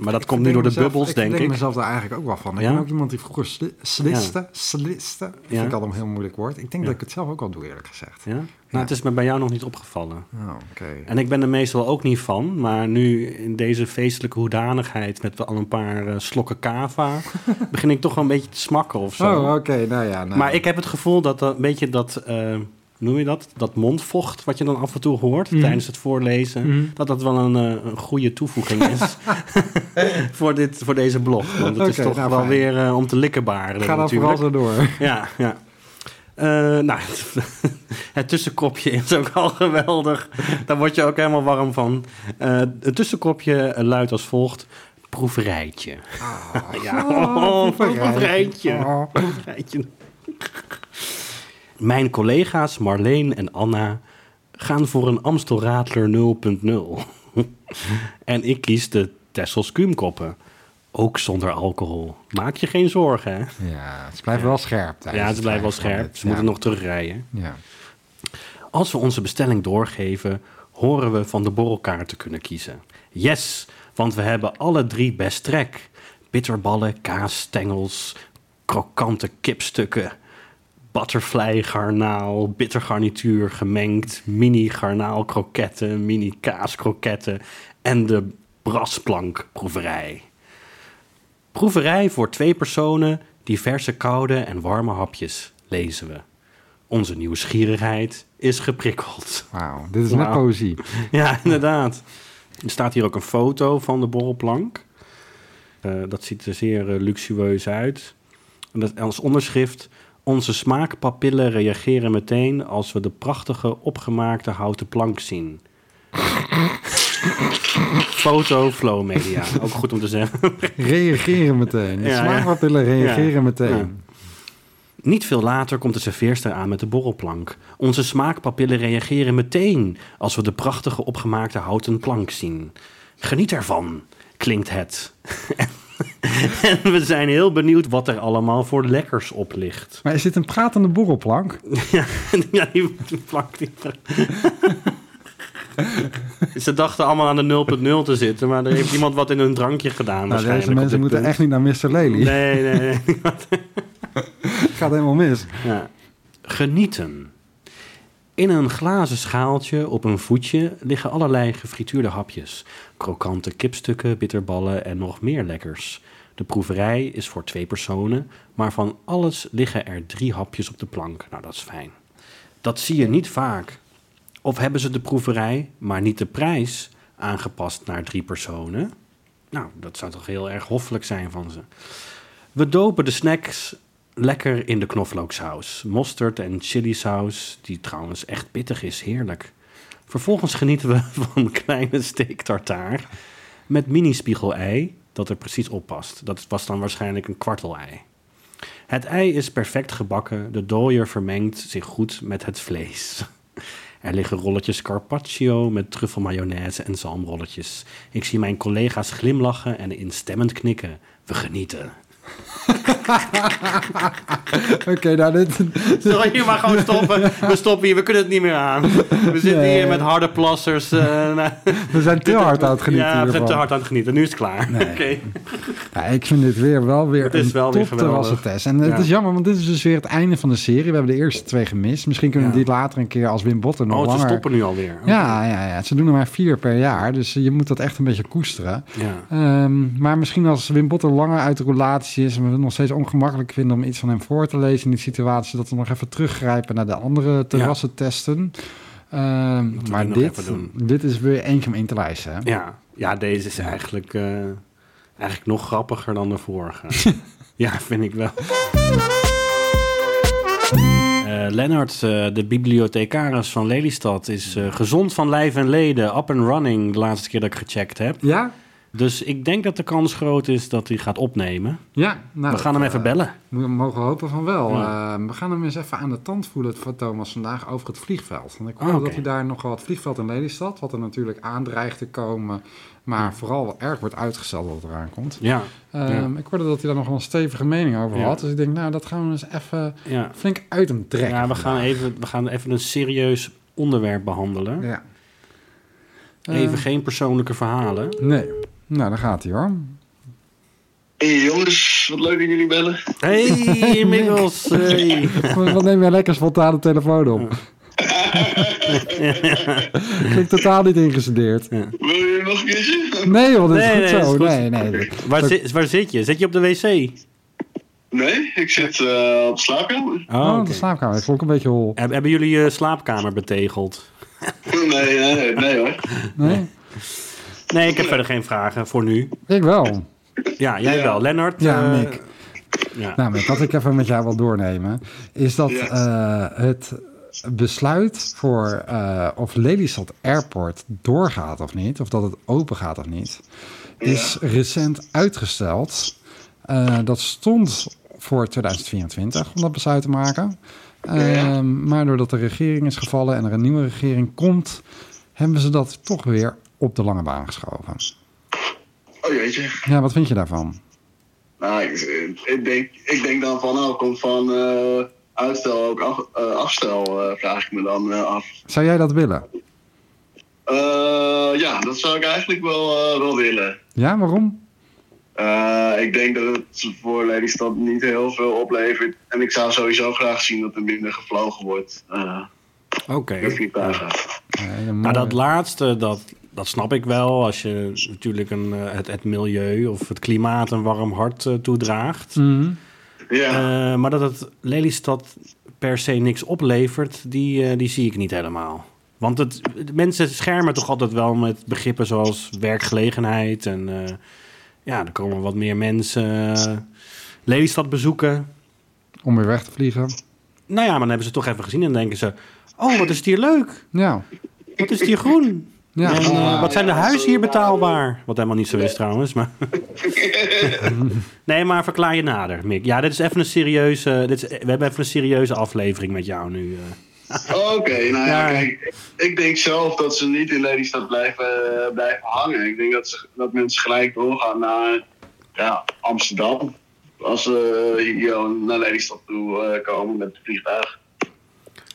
[SPEAKER 1] Maar dat komt nu
[SPEAKER 2] Ik
[SPEAKER 1] door de
[SPEAKER 2] mezelf-
[SPEAKER 1] bubbels, denk
[SPEAKER 2] Ik
[SPEAKER 1] ik.
[SPEAKER 2] denk mezelf daar eigenlijk ook wel van. Ik
[SPEAKER 1] Ja?
[SPEAKER 2] ben ook iemand die vroeger sli sliste. Sliste. Dat
[SPEAKER 1] Ja.
[SPEAKER 2] vind ik altijd een heel moeilijk woord. Ik denk
[SPEAKER 1] Ja.
[SPEAKER 2] dat ik het zelf ook al doe, eerlijk gezegd.
[SPEAKER 1] Ja? Nou, het is me bij jou nog niet opgevallen.
[SPEAKER 2] Oh, oké.
[SPEAKER 1] En ik ben er meestal ook niet van, maar nu in deze feestelijke hoedanigheid met al een paar eh, slokken
[SPEAKER 2] [laughs]
[SPEAKER 1] kava, begin ik toch wel een beetje te smakken of zo.
[SPEAKER 2] Oh, oké. Nou ja. nou.
[SPEAKER 1] Maar ik heb het gevoel dat dat- een beetje dat, eh, hoe noem je dat, dat mondvocht wat je dan af en toe hoort
[SPEAKER 2] Mhm.
[SPEAKER 1] tijdens het voorlezen,
[SPEAKER 2] Mhm.
[SPEAKER 1] dat dat wel een, eh, een goede toevoeging
[SPEAKER 2] [laughs]
[SPEAKER 1] is [laughs] voor, dit, voor deze blog. Want het is
[SPEAKER 2] Oké,
[SPEAKER 1] toch
[SPEAKER 2] nou,
[SPEAKER 1] wel
[SPEAKER 2] fijn.
[SPEAKER 1] weer eh, om te likkenbaren
[SPEAKER 2] Ga dan
[SPEAKER 1] natuurlijk.
[SPEAKER 2] vooral zo door.
[SPEAKER 1] [laughs] Ja, ja. Eh, nou, [laughs] het tussenkopje is ook al geweldig. Daar word je ook helemaal warm van. Eh, het tussenkopje luidt als volgt. Proeverijtje. [laughs]
[SPEAKER 2] [laughs]
[SPEAKER 1] ja, oh, proeverijtje.
[SPEAKER 2] Ah, Oh.
[SPEAKER 1] Proeverijtje. Mijn collega's Marleen en Anna gaan voor een Amstelradler 0.0. [laughs] en ik kies de Tessels Kuumkoppen. Ook zonder alcohol. Maak je geen zorgen, hè?
[SPEAKER 2] Ja, ze blijven wel scherp. tijdens
[SPEAKER 1] Ja,
[SPEAKER 2] het
[SPEAKER 1] ze blijven wel
[SPEAKER 2] schrijven van
[SPEAKER 1] scherp.
[SPEAKER 2] dit.
[SPEAKER 1] Ze moeten
[SPEAKER 2] Ja.
[SPEAKER 1] nog terugrijden.
[SPEAKER 2] Ja.
[SPEAKER 1] Als we onze bestelling doorgeven, horen we van de borrelkaart te kunnen kiezen. Yes, want we hebben alle drie best trek. Bitterballen, kaasstengels, krokante kipstukken, butterfly garnaal, bitter garnituur gemengd, mini garnaal kroketten, mini kaaskroketten en de brasplankproeverij. Proeverij voor twee personen, diverse koude en warme hapjes, lezen we. Onze nieuwsgierigheid is geprikkeld. [laughs]
[SPEAKER 2] Wauw, dit is
[SPEAKER 1] Wauw.
[SPEAKER 2] net poëzie.
[SPEAKER 1] Ja, inderdaad. Er staat hier ook een foto van de borrelplank. Eh, dat ziet er zeer eh, luxueus uit. En dat als onderschrift... Onze smaakpapillen reageren meteen als we de prachtige opgemaakte houten plank zien. [laughs] foto Flow Media. Ook goed om te zeggen.
[SPEAKER 2] Reageren meteen.
[SPEAKER 1] Ja, ja.
[SPEAKER 2] Ja, Smaakpapillen reageren
[SPEAKER 1] Ja.
[SPEAKER 2] meteen.
[SPEAKER 1] Niet veel later komt de serveerster aan met de borrelplank. Onze smaakpapillen reageren meteen als we de prachtige opgemaakte houten plank zien. Geniet ervan, klinkt het. [laughs] en we zijn heel benieuwd wat er allemaal voor lekkers op ligt. [laughs]
[SPEAKER 2] Maar is dit een pratende borrelplank? Nou,
[SPEAKER 1] ja, die plank die... [laughs] Ze dachten allemaal aan de 0.0 te zitten, maar er heeft iemand wat in hun drankje gedaan
[SPEAKER 2] Nou,
[SPEAKER 1] waarschijnlijk.
[SPEAKER 2] deze
[SPEAKER 1] op dit
[SPEAKER 2] mensen moeten
[SPEAKER 1] punt.
[SPEAKER 2] echt niet naar Mr. Lely.
[SPEAKER 1] Nee, nee, nee.
[SPEAKER 2] Het [laughs] gaat helemaal mis.
[SPEAKER 1] Ja. Genieten. In een glazen schaaltje op een voetje liggen allerlei gefrituurde hapjes. Krokante kipstukken, bitterballen en nog meer lekkers. De proeverij is voor twee personen, maar van alles liggen er drie hapjes op de plank. Nou, dat is fijn. Dat zie je niet vaak. Of hebben ze de proeverij, maar niet de prijs, aangepast naar drie personen? Nou, dat zou toch heel erg hoffelijk zijn van ze. We dopen de snacks lekker in de knoflooksaus. Mosterd en chilisaus, die trouwens echt pittig is, heerlijk. Vervolgens genieten we [laughs] van kleine steak tartaar met mini-spiegelei, dat er precies op past. Dat was dan waarschijnlijk een kwartelei. Het ei is perfect gebakken, de dooier vermengt zich goed met het vlees. Er liggen rolletjes carpaccio met truffelmayonaise en zalmrolletjes. Ik zie mijn collega's glimlachen en instemmend knikken. We [laughs] genieten.
[SPEAKER 2] Oké, nou dit... [laughs]
[SPEAKER 1] Zal je hier maar gewoon stoppen? We stoppen hier, we kunnen het niet meer aan. We zitten
[SPEAKER 2] Nee.
[SPEAKER 1] hier met harde plassers. eh, nou,
[SPEAKER 2] We zijn te hard aan het genieten
[SPEAKER 1] Ja, we zijn
[SPEAKER 2] hiervan.
[SPEAKER 1] te hard aan het genieten. Nu is het klaar.
[SPEAKER 2] Nee.
[SPEAKER 1] Oké.
[SPEAKER 2] Ja, ik vind dit weer wel weer
[SPEAKER 1] Het is
[SPEAKER 2] een
[SPEAKER 1] wel weer
[SPEAKER 2] top
[SPEAKER 1] geweldig.
[SPEAKER 2] terrassentest. En het
[SPEAKER 1] Ja.
[SPEAKER 2] is jammer, want dit is dus weer het einde van de serie. We hebben de eerste twee gemist. Misschien kunnen we
[SPEAKER 1] Ja.
[SPEAKER 2] die later een keer als Wim Botten nog
[SPEAKER 1] Oh, ze
[SPEAKER 2] langer...
[SPEAKER 1] stoppen nu alweer.
[SPEAKER 2] Ja, ja, ja, ze doen er maar vier per jaar. Dus je moet dat echt een beetje koesteren.
[SPEAKER 1] Ja.
[SPEAKER 2] Ehm, maar misschien als Wim Botter langer uit de relatie is... en we het nog steeds ongemakkelijk vinden om iets van hem voor te lezen in die situatie... dat we nog even teruggrijpen naar de andere terrassentesten. Ehm,
[SPEAKER 1] we die
[SPEAKER 2] maar
[SPEAKER 1] nog
[SPEAKER 2] dit,
[SPEAKER 1] even doen.
[SPEAKER 2] dit is weer eentje om in te lijsten. hè?
[SPEAKER 1] Ja. ja, deze is eigenlijk, eh, eigenlijk nog grappiger dan de [laughs] vorige. ja, vind ik wel. Eh Lennart, eh, de bibliothecaris van Lelystad, is eh, gezond van lijf en leden. Up and running, de laatste keer dat ik gecheckt heb.
[SPEAKER 2] Ja?
[SPEAKER 1] Dus ik denk dat de kans groot is dat hij gaat opnemen.
[SPEAKER 2] Ja. Nou,
[SPEAKER 1] We gaan hem
[SPEAKER 2] eh,
[SPEAKER 1] even bellen.
[SPEAKER 2] We mogen hopen van wel. Eh, we gaan hem eens even aan de tand voelen van Thomas vandaag over het vliegveld. Want ik hoorde
[SPEAKER 1] Ah, oké.
[SPEAKER 2] dat hij daar nogal het vliegveld in Lelystad, wat er natuurlijk aandreigt te komen, maar vooral wel erg wordt uitgesteld wat eraan komt.
[SPEAKER 1] Ja,
[SPEAKER 2] Ehm, Ik hoorde dat hij daar nog wel een stevige mening over
[SPEAKER 1] Ja.
[SPEAKER 2] had. Dus ik denk, nou, dat gaan we eens even
[SPEAKER 1] ja.
[SPEAKER 2] flink uit hem trekken.
[SPEAKER 1] ja we, gaan even, we gaan even een serieus onderwerp behandelen.
[SPEAKER 2] Ja.
[SPEAKER 1] Even
[SPEAKER 2] Eh,
[SPEAKER 1] geen persoonlijke verhalen.
[SPEAKER 2] Nee. Nou, daar gaat hij hoor.
[SPEAKER 3] Hey jongens, wat leuk dat jullie bellen.
[SPEAKER 1] [laughs] Hey, inmiddels. Hey.
[SPEAKER 2] Wat wat neem jij lekker spontaan de telefoon op?
[SPEAKER 1] [laughs]
[SPEAKER 2] Klinkt totaal niet ingestudeerd.
[SPEAKER 3] Wil je nog een keertje?
[SPEAKER 2] Nee joh, dat is
[SPEAKER 1] Nee,
[SPEAKER 2] goed
[SPEAKER 1] nee,
[SPEAKER 2] zo.
[SPEAKER 1] is goed.
[SPEAKER 2] Nee, nee.
[SPEAKER 1] Waar, zit, waar zit je? Zit je op de wc? Oh,
[SPEAKER 3] Nee, ik zit eh, op de slaapkamer.
[SPEAKER 1] Oh,
[SPEAKER 2] Oh,
[SPEAKER 1] oké.
[SPEAKER 2] de slaapkamer. Ik vond ik een beetje hol.
[SPEAKER 1] Heb- Hebben jullie je slaapkamer betegeld?
[SPEAKER 3] Nee, nee, nee, nee hoor.
[SPEAKER 2] Nee?
[SPEAKER 1] Nee, ik heb verder geen vragen voor nu.
[SPEAKER 2] Ik wel.
[SPEAKER 1] Ja, jij
[SPEAKER 3] Ja.
[SPEAKER 1] wel. Lennart?
[SPEAKER 2] Ja,
[SPEAKER 1] eh,
[SPEAKER 2] Mick.
[SPEAKER 1] Ja.
[SPEAKER 2] Nou, Mick, wat ik even met jou wil doornemen, is dat
[SPEAKER 3] Ja.
[SPEAKER 2] eh, het besluit voor eh, of Lelystad Airport doorgaat of niet, of dat het open gaat of niet, is recent uitgesteld. Eh, dat stond voor 2024 om dat besluit te maken. Ehm, Maar doordat de regering is gevallen en er een nieuwe regering komt, hebben ze dat toch weer op de lange baan geschoven.
[SPEAKER 3] Oh jeetje.
[SPEAKER 2] Ja, wat vind je daarvan?
[SPEAKER 3] Nou, ik, ik, denk, ik denk dan van, nou, komt van eh, uitstel ook af, eh, afstel, eh, vraag ik me dan eh, af.
[SPEAKER 2] Zou jij dat willen?
[SPEAKER 3] Eh, ja, dat zou ik eigenlijk wel, eh, wel willen.
[SPEAKER 2] Ja, waarom?
[SPEAKER 3] Eh, ik denk dat het voor Lelystad niet heel veel oplevert. En ik zou sowieso graag zien dat er minder gevlogen wordt. eh
[SPEAKER 1] Oké.
[SPEAKER 3] door vliegtuigen.
[SPEAKER 2] Ja, hele mooie-
[SPEAKER 1] Nou, dat laatste, dat, dat snap ik wel. Als je natuurlijk een, eh, het, het milieu of het klimaat een warm hart eh, toedraagt.
[SPEAKER 2] Mhm.
[SPEAKER 3] Ja,
[SPEAKER 1] Eh, maar dat het Lelystad per se niks oplevert, die, eh, die zie ik niet helemaal. Want het, de mensen schermen toch altijd wel met begrippen zoals werkgelegenheid. En eh, ja, er komen wat meer mensen eh, Lelystad bezoeken.
[SPEAKER 2] Om weer weg te vliegen.
[SPEAKER 1] Nou ja, maar dan hebben ze het toch even gezien en denken ze... Oh, wat is het hier leuk?
[SPEAKER 2] Ja.
[SPEAKER 1] Wat is het hier groen?
[SPEAKER 2] Ja.
[SPEAKER 1] en, eh, wat zijn de
[SPEAKER 3] ja,
[SPEAKER 1] huizen hier
[SPEAKER 3] zo, ja.
[SPEAKER 1] betaalbaar? Wat helemaal niet zo is trouwens.
[SPEAKER 3] [laughs]
[SPEAKER 1] Maar... nee, maar verklaar je nader, Mick. Ja, dit is even een serieuze. Dit is, we hebben even een serieuze aflevering met jou nu. eh.
[SPEAKER 3] oké. nou ja,
[SPEAKER 1] Ja.
[SPEAKER 3] kijk, ik denk zelf dat ze niet in Lelystad blijven, eh, blijven hangen. Ik denk dat, ze, dat mensen gelijk doorgaan naar ja, Amsterdam. Als ze eh, hier naar Lelystad toe eh, komen met het vliegtuig.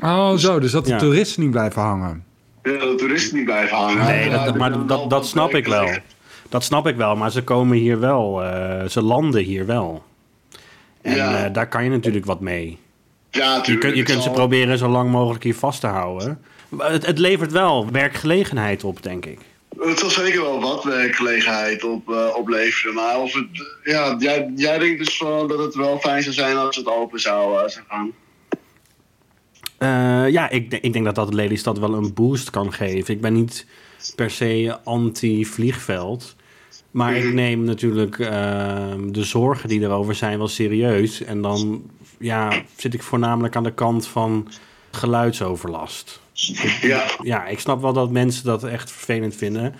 [SPEAKER 2] Oh, zo. Dus dat de
[SPEAKER 1] Ja.
[SPEAKER 2] toeristen niet blijven hangen.
[SPEAKER 3] Ja, de toeristen niet blijven hangen.
[SPEAKER 1] Nee,
[SPEAKER 3] Ja,
[SPEAKER 1] dat, maar dat, dat snap ik wel. Dat snap ik wel, maar ze komen hier wel. eh, ze landen hier wel. En
[SPEAKER 3] Ja.
[SPEAKER 1] eh, daar kan je natuurlijk wat mee.
[SPEAKER 3] Ja,
[SPEAKER 1] Je
[SPEAKER 3] tuurlijk,
[SPEAKER 1] kunt, je
[SPEAKER 3] ik
[SPEAKER 1] kunt ze
[SPEAKER 3] zal-
[SPEAKER 1] proberen zo lang mogelijk hier vast te houden. Maar Het, het levert wel werkgelegenheid op, denk ik.
[SPEAKER 3] Het zal zeker wel wat werkgelegenheid op, eh, opleveren. Maar of het, ja, jij, jij denkt dus van dat het wel fijn zou zijn als het open zou, eh, zou gaan.
[SPEAKER 1] Eh, ja, ik, denk- ik denk dat dat Lelystad wel een boost kan geven. Ik ben niet per se anti-vliegveld. Maar ik neem natuurlijk eh, de zorgen die erover zijn wel serieus. En dan ja, zit ik voornamelijk aan de kant van geluidsoverlast.
[SPEAKER 3] Ja,
[SPEAKER 1] Ja, ik snap wel dat mensen dat echt vervelend vinden.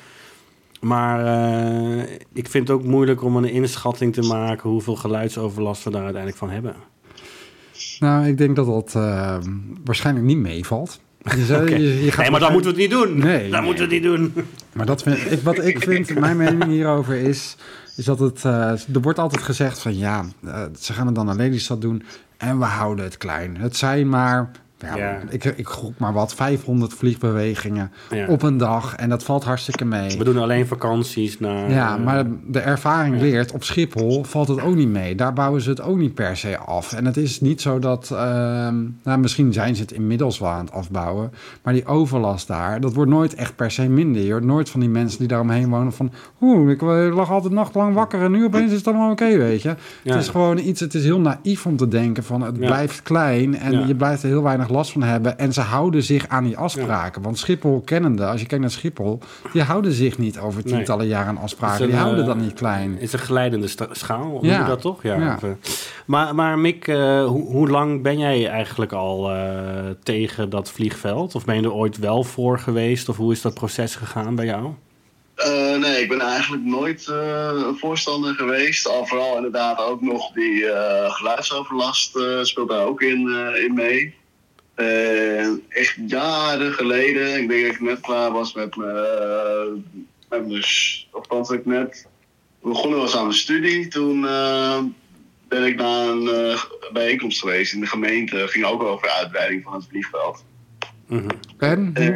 [SPEAKER 1] Maar eh, ik vind het ook moeilijk om een inschatting te maken hoeveel geluidsoverlast we daar uiteindelijk van hebben.
[SPEAKER 2] Nou, ik denk dat dat eh, waarschijnlijk niet meevalt. Je zei-
[SPEAKER 1] Oké.
[SPEAKER 2] je- je gaat
[SPEAKER 1] Nee, maar
[SPEAKER 2] waarschijnlijk-
[SPEAKER 1] dat moeten we het niet doen.
[SPEAKER 2] Nee,
[SPEAKER 1] dat
[SPEAKER 2] nee.
[SPEAKER 1] moeten we het niet doen.
[SPEAKER 2] Maar dat vind, ik, wat ik vind, mijn mening hierover is, is dat het, eh, er wordt altijd gezegd van ja, eh, ze gaan het dan aan Lelystad doen en we houden het klein. Het zijn maar, ja,
[SPEAKER 1] Ja.
[SPEAKER 2] Ik, ik gok maar wat, 500 vliegbewegingen
[SPEAKER 1] Ja.
[SPEAKER 2] op een dag en dat valt hartstikke mee.
[SPEAKER 1] We doen alleen vakanties naar. eh,
[SPEAKER 2] Ja, maar de ervaring leert, op Schiphol valt het ook niet mee. Daar bouwen ze het ook niet per se af. En het is niet zo dat, ehm, nou, misschien zijn ze het inmiddels wel aan het afbouwen. Maar die overlast daar, dat wordt nooit echt per se minder. Je hoort nooit van die mensen die daaromheen wonen van... Oeh, ik eh, lag altijd nachtlang wakker en nu opeens is het allemaal oké, weet je.
[SPEAKER 1] Ja.
[SPEAKER 2] Het is gewoon iets, het is heel naïef om te denken van het
[SPEAKER 1] Ja.
[SPEAKER 2] blijft klein... en
[SPEAKER 1] Ja.
[SPEAKER 2] je blijft er heel weinig last van hebben. En ze houden zich aan die afspraken. Want Schiphol kennende, als je kijkt naar Schiphol... die houden zich niet over
[SPEAKER 1] Nee.
[SPEAKER 2] tientallen jaren aan afspraken.
[SPEAKER 1] Het is
[SPEAKER 2] Die
[SPEAKER 1] een,
[SPEAKER 2] houden
[SPEAKER 1] eh,
[SPEAKER 2] dat niet klein.
[SPEAKER 1] Het is een glijdende sta- schaal, noem
[SPEAKER 2] Ja.
[SPEAKER 1] je dat toch? Ja.
[SPEAKER 2] Ja.
[SPEAKER 1] Of, eh, Maar, maar Mick, eh, hoe, hoe lang ben jij eigenlijk al eh, tegen dat vliegveld? Of ben je er ooit wel voor geweest? Of hoe is dat proces gegaan bij jou?
[SPEAKER 3] Eh, nee, ik ben eigenlijk nooit eh, een voorstander geweest. Al vooral inderdaad ook nog die eh, geluidsoverlast eh, speelt daar ook in, eh, in mee. En echt jaren geleden, ik denk dat ik net klaar was met mijn, eh, met mijn s- of dat ik net begonnen was aan mijn studie. Toen eh, ben ik naar een eh, bijeenkomst geweest in de gemeente. Ging ook over de uitbreiding van het vliegveld.
[SPEAKER 1] Mhm.
[SPEAKER 2] En?
[SPEAKER 3] Eh,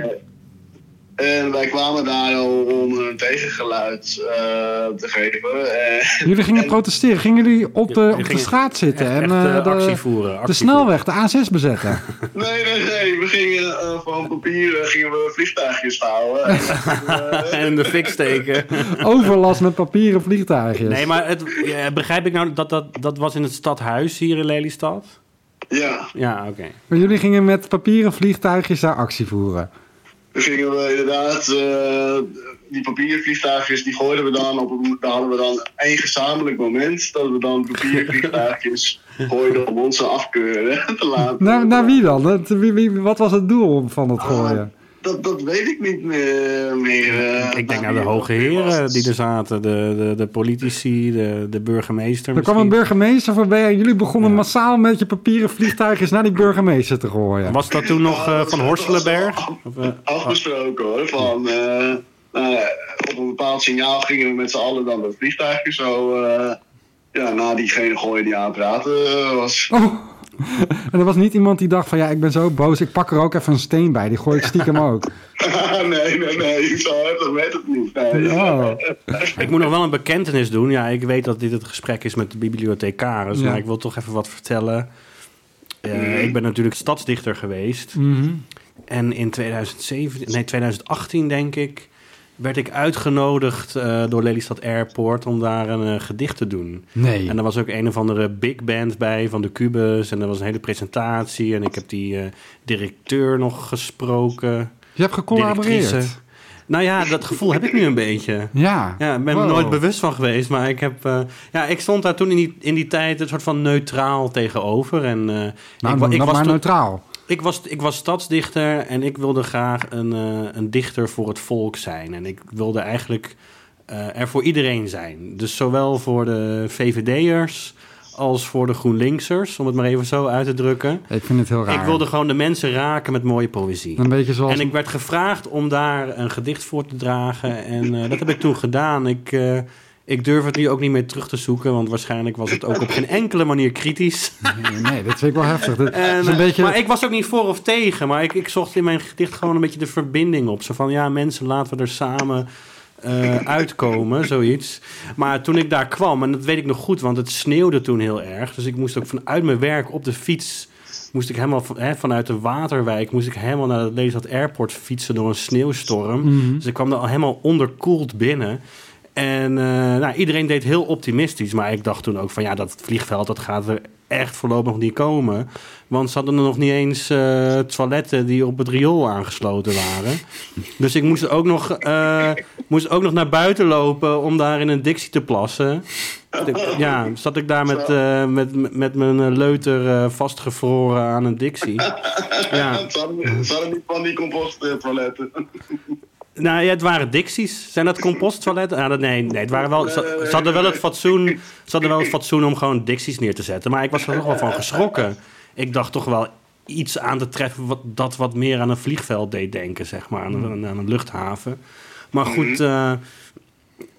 [SPEAKER 3] En wij kwamen daar al om een tegengeluid eh, te
[SPEAKER 2] [laughs]
[SPEAKER 3] geven. En,
[SPEAKER 1] eh,
[SPEAKER 2] jullie gingen protesteren. Gingen jullie op de, op de
[SPEAKER 1] Gingen
[SPEAKER 2] straat zitten
[SPEAKER 1] Echt,
[SPEAKER 2] en
[SPEAKER 1] echt,
[SPEAKER 2] eh,
[SPEAKER 1] eh,
[SPEAKER 2] de,
[SPEAKER 1] actie voeren.
[SPEAKER 2] de
[SPEAKER 1] actie
[SPEAKER 2] snelweg, de A6 bezetten?
[SPEAKER 3] nee, nee, nee. We gingen eh, van papier eh, gingen we vliegtuigjes houden.
[SPEAKER 2] [laughs]
[SPEAKER 3] En,
[SPEAKER 1] voeren. [laughs] en in de fik steken.
[SPEAKER 2] Dus.
[SPEAKER 1] [laughs]
[SPEAKER 2] Overlast met papieren vliegtuigjes.
[SPEAKER 1] Nee, maar het, eh, begrijp ik nou dat, dat dat was in het stadhuis hier in Lelystad?
[SPEAKER 3] ja,
[SPEAKER 1] Ja, oké.
[SPEAKER 2] Maar jullie gingen met papieren vliegtuigjes daar actie voeren.
[SPEAKER 3] toen gingen we inderdaad eh, die papiervliegtuigjes die gooiden we dan op. een- Daar hadden we dan één gezamenlijk moment dat we dan
[SPEAKER 2] [laughs]
[SPEAKER 3] papiervliegtuigjes gooiden om onze afkeuren [laughs] te laten. Ah,
[SPEAKER 2] Naar, naar wie dan? Dat- wie, wie- wat was het doel van
[SPEAKER 1] Ah,
[SPEAKER 2] het gooien?
[SPEAKER 3] Dat, dat weet ik niet meer. meer eh,
[SPEAKER 1] Ik
[SPEAKER 3] naar
[SPEAKER 1] denk naar de
[SPEAKER 3] wie-
[SPEAKER 1] hoge heren die er zaten, de, de, de politici, de, de burgemeester.
[SPEAKER 2] Er kwam een
[SPEAKER 1] misschien.
[SPEAKER 2] burgemeester voorbij en jullie begonnen massaal met je papieren vliegtuigjes naar die burgemeester te gooien.
[SPEAKER 1] Was dat toen nog eh,
[SPEAKER 3] dat
[SPEAKER 1] van
[SPEAKER 3] was-
[SPEAKER 1] Horselenberg?
[SPEAKER 3] dat
[SPEAKER 1] Of, eh,
[SPEAKER 3] afgesproken hoor. Van, eh, nou ja, op een bepaald signaal gingen we met z'n allen dan dat vliegtuigje zo. eh, ja, na diegene gooien die aan het praten eh, was. [laughs]
[SPEAKER 2] Oh, [laughs] En er was niet iemand die dacht van ja, ik ben zo boos, ik pak er ook even een steen bij. Die gooi ik stiekem ook.
[SPEAKER 3] nee, nee, nee. Zo heftig werd het niet. Nee.
[SPEAKER 2] Oh.
[SPEAKER 1] Ik moet nog wel een bekentenis doen. Ja, ik weet dat dit het gesprek is met de bibliothecaris,
[SPEAKER 2] Ja.
[SPEAKER 1] maar ik wil toch even wat vertellen. Eh, ik ben natuurlijk stadsdichter geweest.
[SPEAKER 2] Mhm.
[SPEAKER 1] En in 2007, nee, 2018 denk ik, werd ik uitgenodigd eh, door Lelystad Airport om daar een eh, gedicht te doen.
[SPEAKER 2] Nee.
[SPEAKER 1] En er was ook een of andere big band bij van de Cubus. En er was een hele presentatie. En ik heb die eh, directeur nog gesproken.
[SPEAKER 2] Je hebt
[SPEAKER 1] Directrice.
[SPEAKER 2] gecollaboreerd.
[SPEAKER 1] Nou ja, dat gevoel heb ik nu een beetje.
[SPEAKER 2] Ja.
[SPEAKER 1] Ja, ik ben
[SPEAKER 2] Wow.
[SPEAKER 1] er nooit bewust van geweest, maar ik heb... eh, ja, ik stond daar toen in die, in die tijd een soort van neutraal tegenover. En, eh,
[SPEAKER 2] Nou,
[SPEAKER 1] ik, wa-
[SPEAKER 2] noem
[SPEAKER 1] ik,
[SPEAKER 2] dat
[SPEAKER 1] was
[SPEAKER 2] maar
[SPEAKER 1] toen-
[SPEAKER 2] neutraal.
[SPEAKER 1] ik, was, ik was stadsdichter en ik wilde graag een, eh, een dichter voor het volk zijn. En ik wilde eigenlijk eh, er voor iedereen zijn. Dus zowel voor de VVD'ers als voor de GroenLinksers, om het maar even zo uit te drukken.
[SPEAKER 2] Ik vind het heel raar.
[SPEAKER 1] Ik wilde gewoon de mensen raken met mooie poëzie.
[SPEAKER 2] Een beetje zoals...
[SPEAKER 1] En ik werd gevraagd om daar een gedicht voor te dragen. En eh, dat heb ik toen gedaan. Ik, eh, ik durf het nu ook niet meer terug te zoeken, want waarschijnlijk was het ook op geen enkele manier kritisch.
[SPEAKER 2] Nee, nee, dat vind ik wel heftig. Dat
[SPEAKER 1] En,
[SPEAKER 2] is een beetje...
[SPEAKER 1] Eh, Maar ik was ook niet voor of tegen, maar ik, ik zocht in mijn gedicht gewoon een beetje de verbinding op. Zo van, ja mensen, laten we er samen
[SPEAKER 2] [laughs]
[SPEAKER 1] eh, uitkomen, zoiets. Maar toen ik daar kwam, en dat weet ik nog goed, want het sneeuwde toen heel erg. Dus ik moest ook vanuit mijn werk op de fiets, moest ik helemaal van- hè, vanuit de Waterwijk, moest ik helemaal naar het Lelystad Airport fietsen door een sneeuwstorm.
[SPEAKER 2] Mhm.
[SPEAKER 1] Dus ik kwam er al helemaal onderkoeld binnen. En eh, nou, iedereen deed heel optimistisch. Maar ik dacht toen ook van ja, dat vliegveld dat gaat er echt voorlopig nog niet komen. Want ze hadden er nog niet eens eh, toiletten die op het riool aangesloten waren. Dus ik moest ook nog, eh, moest ook nog naar buiten lopen om daar in een dictie te plassen. Ja, zat ik daar met, eh, met, met mijn eh, leuter eh, vastgevroren aan een dictie. Ja.
[SPEAKER 3] Ze hadden- ze hadden niet van die composttoiletten. [laughs]
[SPEAKER 1] Nou ja, het waren dicties. Zijn dat composttoiletten? Ah, dat, nee, nee, het waren wel, ze, ze hadden wel het fatsoen, ze hadden wel het fatsoen om gewoon dicties neer te zetten. Maar ik was er toch wel van geschrokken. Ik dacht toch wel iets aan te treffen wat, dat wat meer aan een vliegveld deed denken, zeg maar. Aan, een- aan een luchthaven. Maar goed, eh,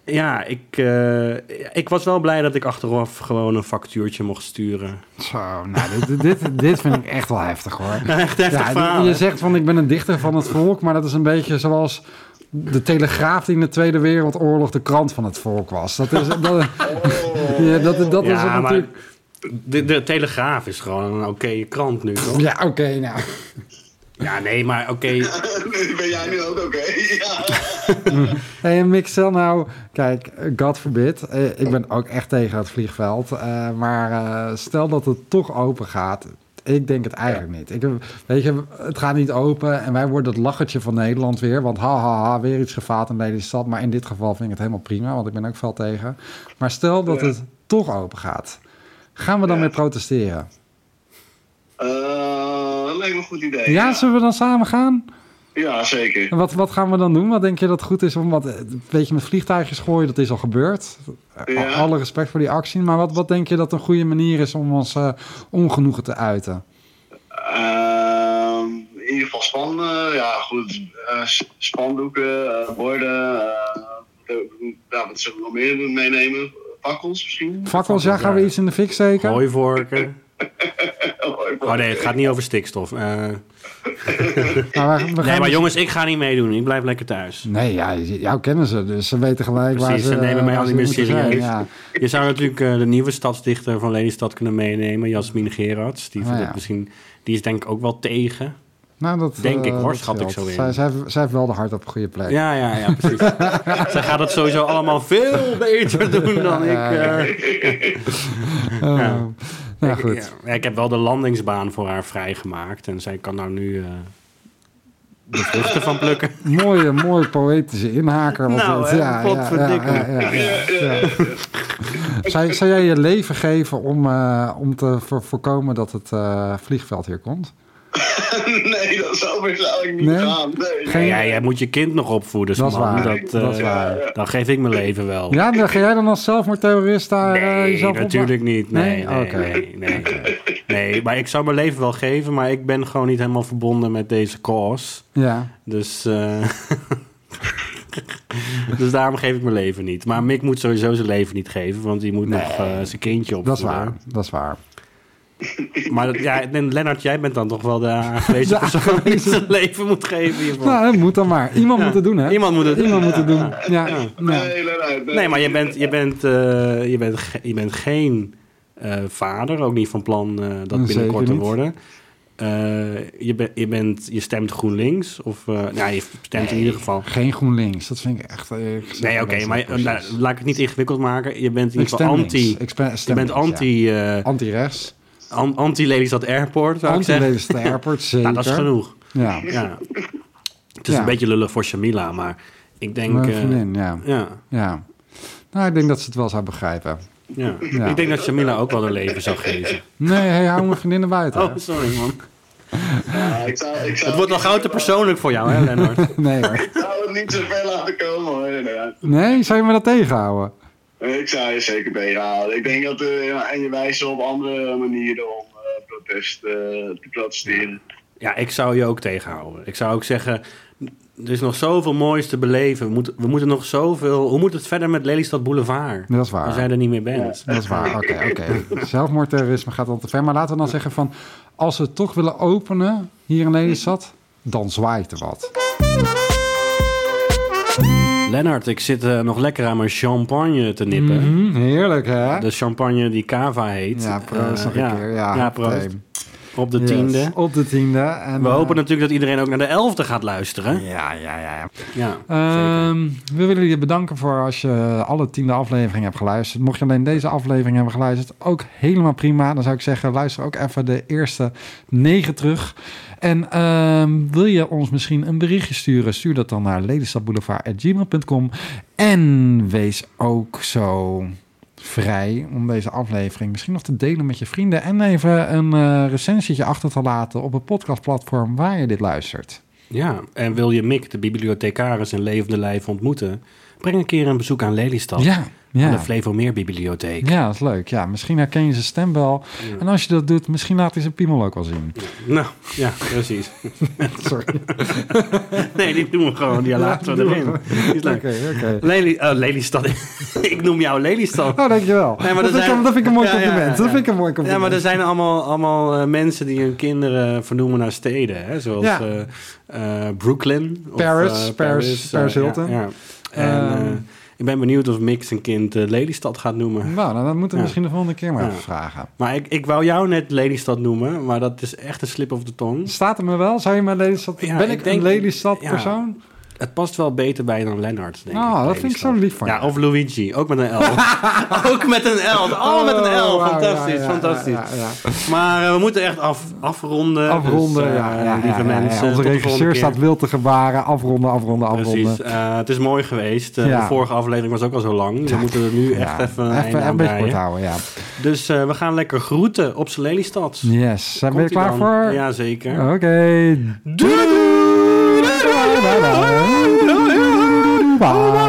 [SPEAKER 1] ja, ik, eh, ik was wel blij dat ik achteraf gewoon een factuurtje mocht sturen.
[SPEAKER 2] Zo, nou, dit, dit, dit vind ik echt wel heftig
[SPEAKER 1] [laughs]
[SPEAKER 2] hoor.
[SPEAKER 1] Echt heftig
[SPEAKER 2] Ja,
[SPEAKER 1] verhaal.
[SPEAKER 2] je
[SPEAKER 1] hè?
[SPEAKER 2] zegt van ik ben een dichter van het volk, maar dat is een beetje zoals de Telegraaf die in de Tweede Wereldoorlog de krant van het volk was. Dat is,
[SPEAKER 1] [laughs]
[SPEAKER 2] dat,
[SPEAKER 3] Oh. [laughs]
[SPEAKER 2] ja, dat, dat is
[SPEAKER 1] Ja, maar
[SPEAKER 2] natuurlijk.
[SPEAKER 1] de, de Telegraaf is gewoon een oké krant nu,
[SPEAKER 2] [laughs]
[SPEAKER 1] toch?
[SPEAKER 2] Ja, oké, nou.
[SPEAKER 1] Ja, nee, maar oké.
[SPEAKER 3] ben jij nu ook oké? [laughs] Ja.
[SPEAKER 2] Hey, en Mick, stel nou, kijk, God forbid, eh, ik ben ook echt tegen het vliegveld, eh, maar eh, stel dat het toch open gaat. Ik denk het eigenlijk niet. Ik, weet je, het gaat niet open en wij worden het lachertje van Nederland weer. Want ha, ha, ha, weer iets gevaat in Lelystad. Maar in dit geval vind ik het helemaal prima, want ik ben ook fel tegen. Maar stel dat
[SPEAKER 3] Ja.
[SPEAKER 2] het toch open gaat. Gaan we dan
[SPEAKER 3] Ja.
[SPEAKER 2] weer protesteren?
[SPEAKER 3] Eh, dat lijkt me een goed idee.
[SPEAKER 2] Ja, zullen we dan samen gaan?
[SPEAKER 3] Ja, zeker.
[SPEAKER 2] En wat, wat gaan we dan doen? Wat denk je dat goed is? Om wat, eh, weet je, met vliegtuigjes gooien, dat is al gebeurd. Eh,
[SPEAKER 3] Ja.
[SPEAKER 2] Al- Alle respect voor die actie. Maar wat, wat denk je dat een goede manier is om ons eh, ongenoegen te uiten?
[SPEAKER 3] Ehm, in ieder geval spannen, ja goed. eh, s- spandoeken, eh, borden. eh, de- ja, wat zullen we nog meer meenemen? Fakkels
[SPEAKER 1] [laughs]
[SPEAKER 3] misschien?
[SPEAKER 2] Fakkels, ja, gaan we iets in de fik steken?
[SPEAKER 1] Hooivorken.
[SPEAKER 3] Oh,
[SPEAKER 1] Oh nee, het gaat niet over stikstof. Eh,
[SPEAKER 2] Maar we- we gaan- dus-
[SPEAKER 1] nee, maar jongens, ik ga niet meedoen. Ik blijf lekker thuis.
[SPEAKER 2] Nee, ja, je- jou kennen ze, dus ze weten gelijk waar
[SPEAKER 1] Precies,
[SPEAKER 2] ze... eh,
[SPEAKER 1] ze nemen mij
[SPEAKER 2] waar
[SPEAKER 1] al
[SPEAKER 2] ze
[SPEAKER 1] niet meer
[SPEAKER 2] moeten zijn,
[SPEAKER 1] serieus.
[SPEAKER 2] ja.
[SPEAKER 1] Je zou natuurlijk eh, de nieuwe stadsdichter van Lelystad kunnen meenemen, Jasmin Gerards. Die,
[SPEAKER 2] Ah,
[SPEAKER 1] vindt
[SPEAKER 2] ja.
[SPEAKER 1] het misschien, die is denk ik ook wel tegen.
[SPEAKER 2] Nou, dat,
[SPEAKER 1] Denk
[SPEAKER 2] eh,
[SPEAKER 1] ik, hoor,
[SPEAKER 2] dat
[SPEAKER 1] schat ik
[SPEAKER 2] scheelt.
[SPEAKER 1] zo in.
[SPEAKER 2] Zij, zij, heeft- zij heeft wel de hart op een goede plek.
[SPEAKER 1] Ja, ja, ja,
[SPEAKER 2] [laughs]
[SPEAKER 1] precies. Zij gaat het sowieso allemaal veel beter doen dan ik.
[SPEAKER 2] Ja, ja,
[SPEAKER 1] eh.
[SPEAKER 2] Eh,
[SPEAKER 1] Ja.
[SPEAKER 2] Nou goed.
[SPEAKER 1] Ja, ik heb wel de landingsbaan voor haar vrijgemaakt. En zij kan daar nu eh, de vruchten van plukken.
[SPEAKER 2] Mooie, mooie poëtische inhaker. was
[SPEAKER 1] Nou,
[SPEAKER 2] dit.
[SPEAKER 1] hè,
[SPEAKER 2] ja, ja, ja,
[SPEAKER 1] potverdikke.
[SPEAKER 2] ja, ja, ja, ja. Zou, zou jij je leven geven om, eh, om te vo- voorkomen dat het eh, vliegveld hier komt?
[SPEAKER 3] [laughs] nee, dat zou waarschijnlijk niet
[SPEAKER 2] Nee?
[SPEAKER 3] gaan. Nee.
[SPEAKER 2] Geen-
[SPEAKER 1] Ja, jij moet je kind nog opvoeden,
[SPEAKER 2] Dat is
[SPEAKER 1] man.
[SPEAKER 2] waar.
[SPEAKER 1] Dat, eh,
[SPEAKER 2] Dat is waar.
[SPEAKER 1] Dan geef ik mijn leven wel.
[SPEAKER 2] Ja, dan ga jij dan als zelfmoordterrorist daar eh,
[SPEAKER 1] Nee,
[SPEAKER 2] jezelf op?
[SPEAKER 1] natuurlijk niet. Nee,
[SPEAKER 2] Nee?
[SPEAKER 1] nee,
[SPEAKER 2] Oké.
[SPEAKER 1] nee, nee, nee. Nee, maar ik zou mijn leven wel geven, maar ik ben gewoon niet helemaal verbonden met deze cause.
[SPEAKER 2] Ja.
[SPEAKER 1] Dus, eh, [laughs] dus daarom geef ik mijn leven niet. Maar Mick moet sowieso zijn leven niet geven, want die moet nog eh, zijn kindje
[SPEAKER 2] Dat is
[SPEAKER 1] opvoeden.
[SPEAKER 2] waar, dat is waar.
[SPEAKER 1] Maar dat- ja, en Lennart, jij bent dan toch wel
[SPEAKER 2] [laughs]
[SPEAKER 1] de aangewezen
[SPEAKER 2] De
[SPEAKER 1] persoon die
[SPEAKER 2] aangewezen.
[SPEAKER 1] zijn leven moet geven hiervoor.
[SPEAKER 2] Nou, dat moet dan maar. Iemand
[SPEAKER 1] Ja.
[SPEAKER 2] moet het doen, hè?
[SPEAKER 1] Iemand moet het
[SPEAKER 2] Iemand
[SPEAKER 1] ja,
[SPEAKER 2] moet het doen.
[SPEAKER 1] ja.
[SPEAKER 2] Ja.
[SPEAKER 1] Ja.
[SPEAKER 2] Ja.
[SPEAKER 3] Nee, nee, nee, nee.
[SPEAKER 1] Nee, maar je bent, je bent, eh, je bent, ge- je bent geen eh, vader, ook niet van plan eh, dat
[SPEAKER 2] Zeker
[SPEAKER 1] binnenkort te
[SPEAKER 2] niet.
[SPEAKER 1] worden. Eh, je, bent je, bent, je stemt GroenLinks, of eh, nou, je stemt in ieder geval.
[SPEAKER 2] Geen GroenLinks, dat vind ik echt... Nee,
[SPEAKER 1] Nee, oké, maar eh, nou, laat ik het niet ingewikkeld maken. Je bent in ieder geval anti. Je bent anti, eh,
[SPEAKER 2] Anti-rechts.
[SPEAKER 1] an- anti-Lelystad Airport, zou ik zeggen.
[SPEAKER 2] Anti-Lelystad Airport, zeker.
[SPEAKER 1] [laughs] Nou, dat is genoeg.
[SPEAKER 2] Ja,
[SPEAKER 1] Ja. Het is
[SPEAKER 2] Ja.
[SPEAKER 1] een beetje lullig voor Shamila, maar ik denk...
[SPEAKER 2] mijn
[SPEAKER 1] eh,
[SPEAKER 2] vriendin, ja.
[SPEAKER 1] ja,
[SPEAKER 2] ja. Nou, ik denk dat ze het wel zou begrijpen.
[SPEAKER 1] ja.
[SPEAKER 2] Ja.
[SPEAKER 1] Ik denk dat Shamila ook wel haar leven zou geven.
[SPEAKER 2] Nee, hey, hou mijn vriendinnen buiten.
[SPEAKER 1] Oh, sorry man.
[SPEAKER 3] Ja, Ah, ik zou, ik zou
[SPEAKER 1] Het wordt nog gauw te persoonlijk voor jou, hè, Lennart?
[SPEAKER 2] Nee hoor.
[SPEAKER 3] Ik zou het niet zo ver laten komen hoor, inderdaad.
[SPEAKER 2] Nee, zou je me dat tegenhouden?
[SPEAKER 3] Ik zou je zeker bijhouden. Ik denk dat, eh, ja, en je wijzen op andere manieren om eh, protest eh, te protesteren.
[SPEAKER 1] [laughs] Ja, ik zou je ook tegenhouden. Ik zou ook zeggen, er is nog zoveel moois te beleven. We moeten, we moeten nog zoveel... Hoe moet het verder met Lelystad Boulevard?
[SPEAKER 2] Nee, dat is
[SPEAKER 1] Als
[SPEAKER 2] waar.
[SPEAKER 1] jij er niet meer bent.
[SPEAKER 2] Dat is waar, oké, oké. Zelfmoordterrorisme gaat al te ver. Maar laten we dan zeggen van... als ze het toch willen openen hier in Lelystad... dan zwaait er wat.
[SPEAKER 1] Lennart, ik zit eh, nog lekker aan mijn champagne te nippen.
[SPEAKER 2] Mhm, heerlijk, hè?
[SPEAKER 1] De champagne die Cava heet.
[SPEAKER 2] Ja,
[SPEAKER 1] Eh,
[SPEAKER 2] proost nog een keer. Ja,
[SPEAKER 1] proost.
[SPEAKER 2] meteen.
[SPEAKER 1] Op de
[SPEAKER 2] Yes,
[SPEAKER 1] tiende.
[SPEAKER 2] Op de tiende. En,
[SPEAKER 1] We
[SPEAKER 2] eh,
[SPEAKER 1] hopen natuurlijk dat iedereen ook naar de elfde gaat luisteren.
[SPEAKER 2] Ja, ja, ja. ja.
[SPEAKER 1] Ja, zeker.
[SPEAKER 2] Ehm, we willen je bedanken voor als je alle tiende afleveringen hebt geluisterd. Mocht je alleen deze aflevering hebben geluisterd, ook helemaal prima. Dan zou ik zeggen, luister ook even de eerste negen terug. En ehm, wil je ons misschien een berichtje sturen? Stuur dat dan naar ledenstadboulevard.gmail.com. En wees ook zo vrij om deze aflevering misschien nog te delen met je vrienden. En even een eh recensietje achter te laten op het podcastplatform waar je dit luistert.
[SPEAKER 1] ja, en wil je Mick, de bibliothecaris in levende lijf, ontmoeten? Breng een keer een bezoek aan Lelystad.
[SPEAKER 2] Ja, ja.
[SPEAKER 1] Aan de Flevomeer Bibliotheek.
[SPEAKER 2] Ja, dat is leuk. Ja, misschien herken je zijn stem wel. En als je dat doet, misschien laat hij zijn piemel ook wel
[SPEAKER 1] [laughs]
[SPEAKER 2] zien.
[SPEAKER 1] Nou, ja, precies.
[SPEAKER 2] Sorry.
[SPEAKER 1] Nee, die doen we gewoon. Die laten we
[SPEAKER 2] die doen
[SPEAKER 1] erin. Die is
[SPEAKER 2] Oké,
[SPEAKER 1] leuk.
[SPEAKER 2] oké.
[SPEAKER 1] Lely, eh, Lelystad. [laughs] ik noem jou Lelystad.
[SPEAKER 2] Nou, dankjewel.
[SPEAKER 1] Nee, maar
[SPEAKER 2] dat,
[SPEAKER 1] er
[SPEAKER 2] vind ik,
[SPEAKER 1] zijn-
[SPEAKER 2] dat vind ik een mooi
[SPEAKER 1] Ja, ja,
[SPEAKER 2] compliment.
[SPEAKER 1] ja,
[SPEAKER 2] Dat
[SPEAKER 1] ja.
[SPEAKER 2] vind ik een mooi compliment.
[SPEAKER 1] Ja, maar er zijn allemaal, allemaal eh, mensen die hun kinderen vernoemen naar steden. Hè? Zoals
[SPEAKER 2] Ja.
[SPEAKER 1] eh, eh, Brooklyn. Of,
[SPEAKER 2] Paris,
[SPEAKER 1] eh,
[SPEAKER 2] Paris, Paris
[SPEAKER 1] eh,
[SPEAKER 2] Hilton.
[SPEAKER 1] ja, ja. En, eh,
[SPEAKER 2] Ehm.
[SPEAKER 1] ik ben benieuwd of Mick zijn kind eh, Lelystad gaat noemen.
[SPEAKER 2] Nou, nou, dat moeten we
[SPEAKER 1] Ja.
[SPEAKER 2] misschien de volgende keer maar
[SPEAKER 1] Ja.
[SPEAKER 2] even vragen.
[SPEAKER 1] Maar ik, ik wou jou net Lelystad noemen, maar dat is echt een slip of the tongue.
[SPEAKER 2] Staat er me wel? Zou je mijn Lelystad...
[SPEAKER 1] Ja,
[SPEAKER 2] ben
[SPEAKER 1] ik
[SPEAKER 2] ik,
[SPEAKER 1] denk-
[SPEAKER 2] een Lelystad
[SPEAKER 1] ja.
[SPEAKER 2] persoon?
[SPEAKER 1] Het past wel beter bij dan Lennart, denk ik.
[SPEAKER 2] Nou, dat
[SPEAKER 1] Lelystad.
[SPEAKER 2] vind ik zo lief van
[SPEAKER 1] Ja,
[SPEAKER 2] je.
[SPEAKER 1] of Luigi, ook met een L. [laughs] ook met een L, allemaal met een L.
[SPEAKER 2] Oh, wauw,
[SPEAKER 1] Fantastisch,
[SPEAKER 2] ja, ja,
[SPEAKER 1] fantastisch.
[SPEAKER 2] ja, ja, ja.
[SPEAKER 1] Maar eh, we moeten echt af, afronden.
[SPEAKER 2] Afronden,
[SPEAKER 1] Dus, eh,
[SPEAKER 2] ja, ja,
[SPEAKER 1] lieve
[SPEAKER 2] ja, ja, ja.
[SPEAKER 1] mensen. tot de
[SPEAKER 2] Onze
[SPEAKER 1] volgende
[SPEAKER 2] regisseur
[SPEAKER 1] keer.
[SPEAKER 2] staat wil te gebaren. Afronden, afronden, afronden.
[SPEAKER 1] Precies. Eh, het is mooi geweest. Eh,
[SPEAKER 2] Ja.
[SPEAKER 1] De vorige aflevering was ook al zo lang. We moeten er nu echt
[SPEAKER 2] Ja,
[SPEAKER 1] even een einde
[SPEAKER 2] even
[SPEAKER 1] aan
[SPEAKER 2] een beetje kort
[SPEAKER 1] breien.
[SPEAKER 2] houden, ja.
[SPEAKER 1] Dus eh, we gaan lekker groeten op z'n Lelystad.
[SPEAKER 2] Yes, zijn we er
[SPEAKER 1] Komt-ie dan?
[SPEAKER 2] klaar voor? Eh,
[SPEAKER 1] Jazeker.
[SPEAKER 2] Oké. [laughs] Doei doei! Bye bye.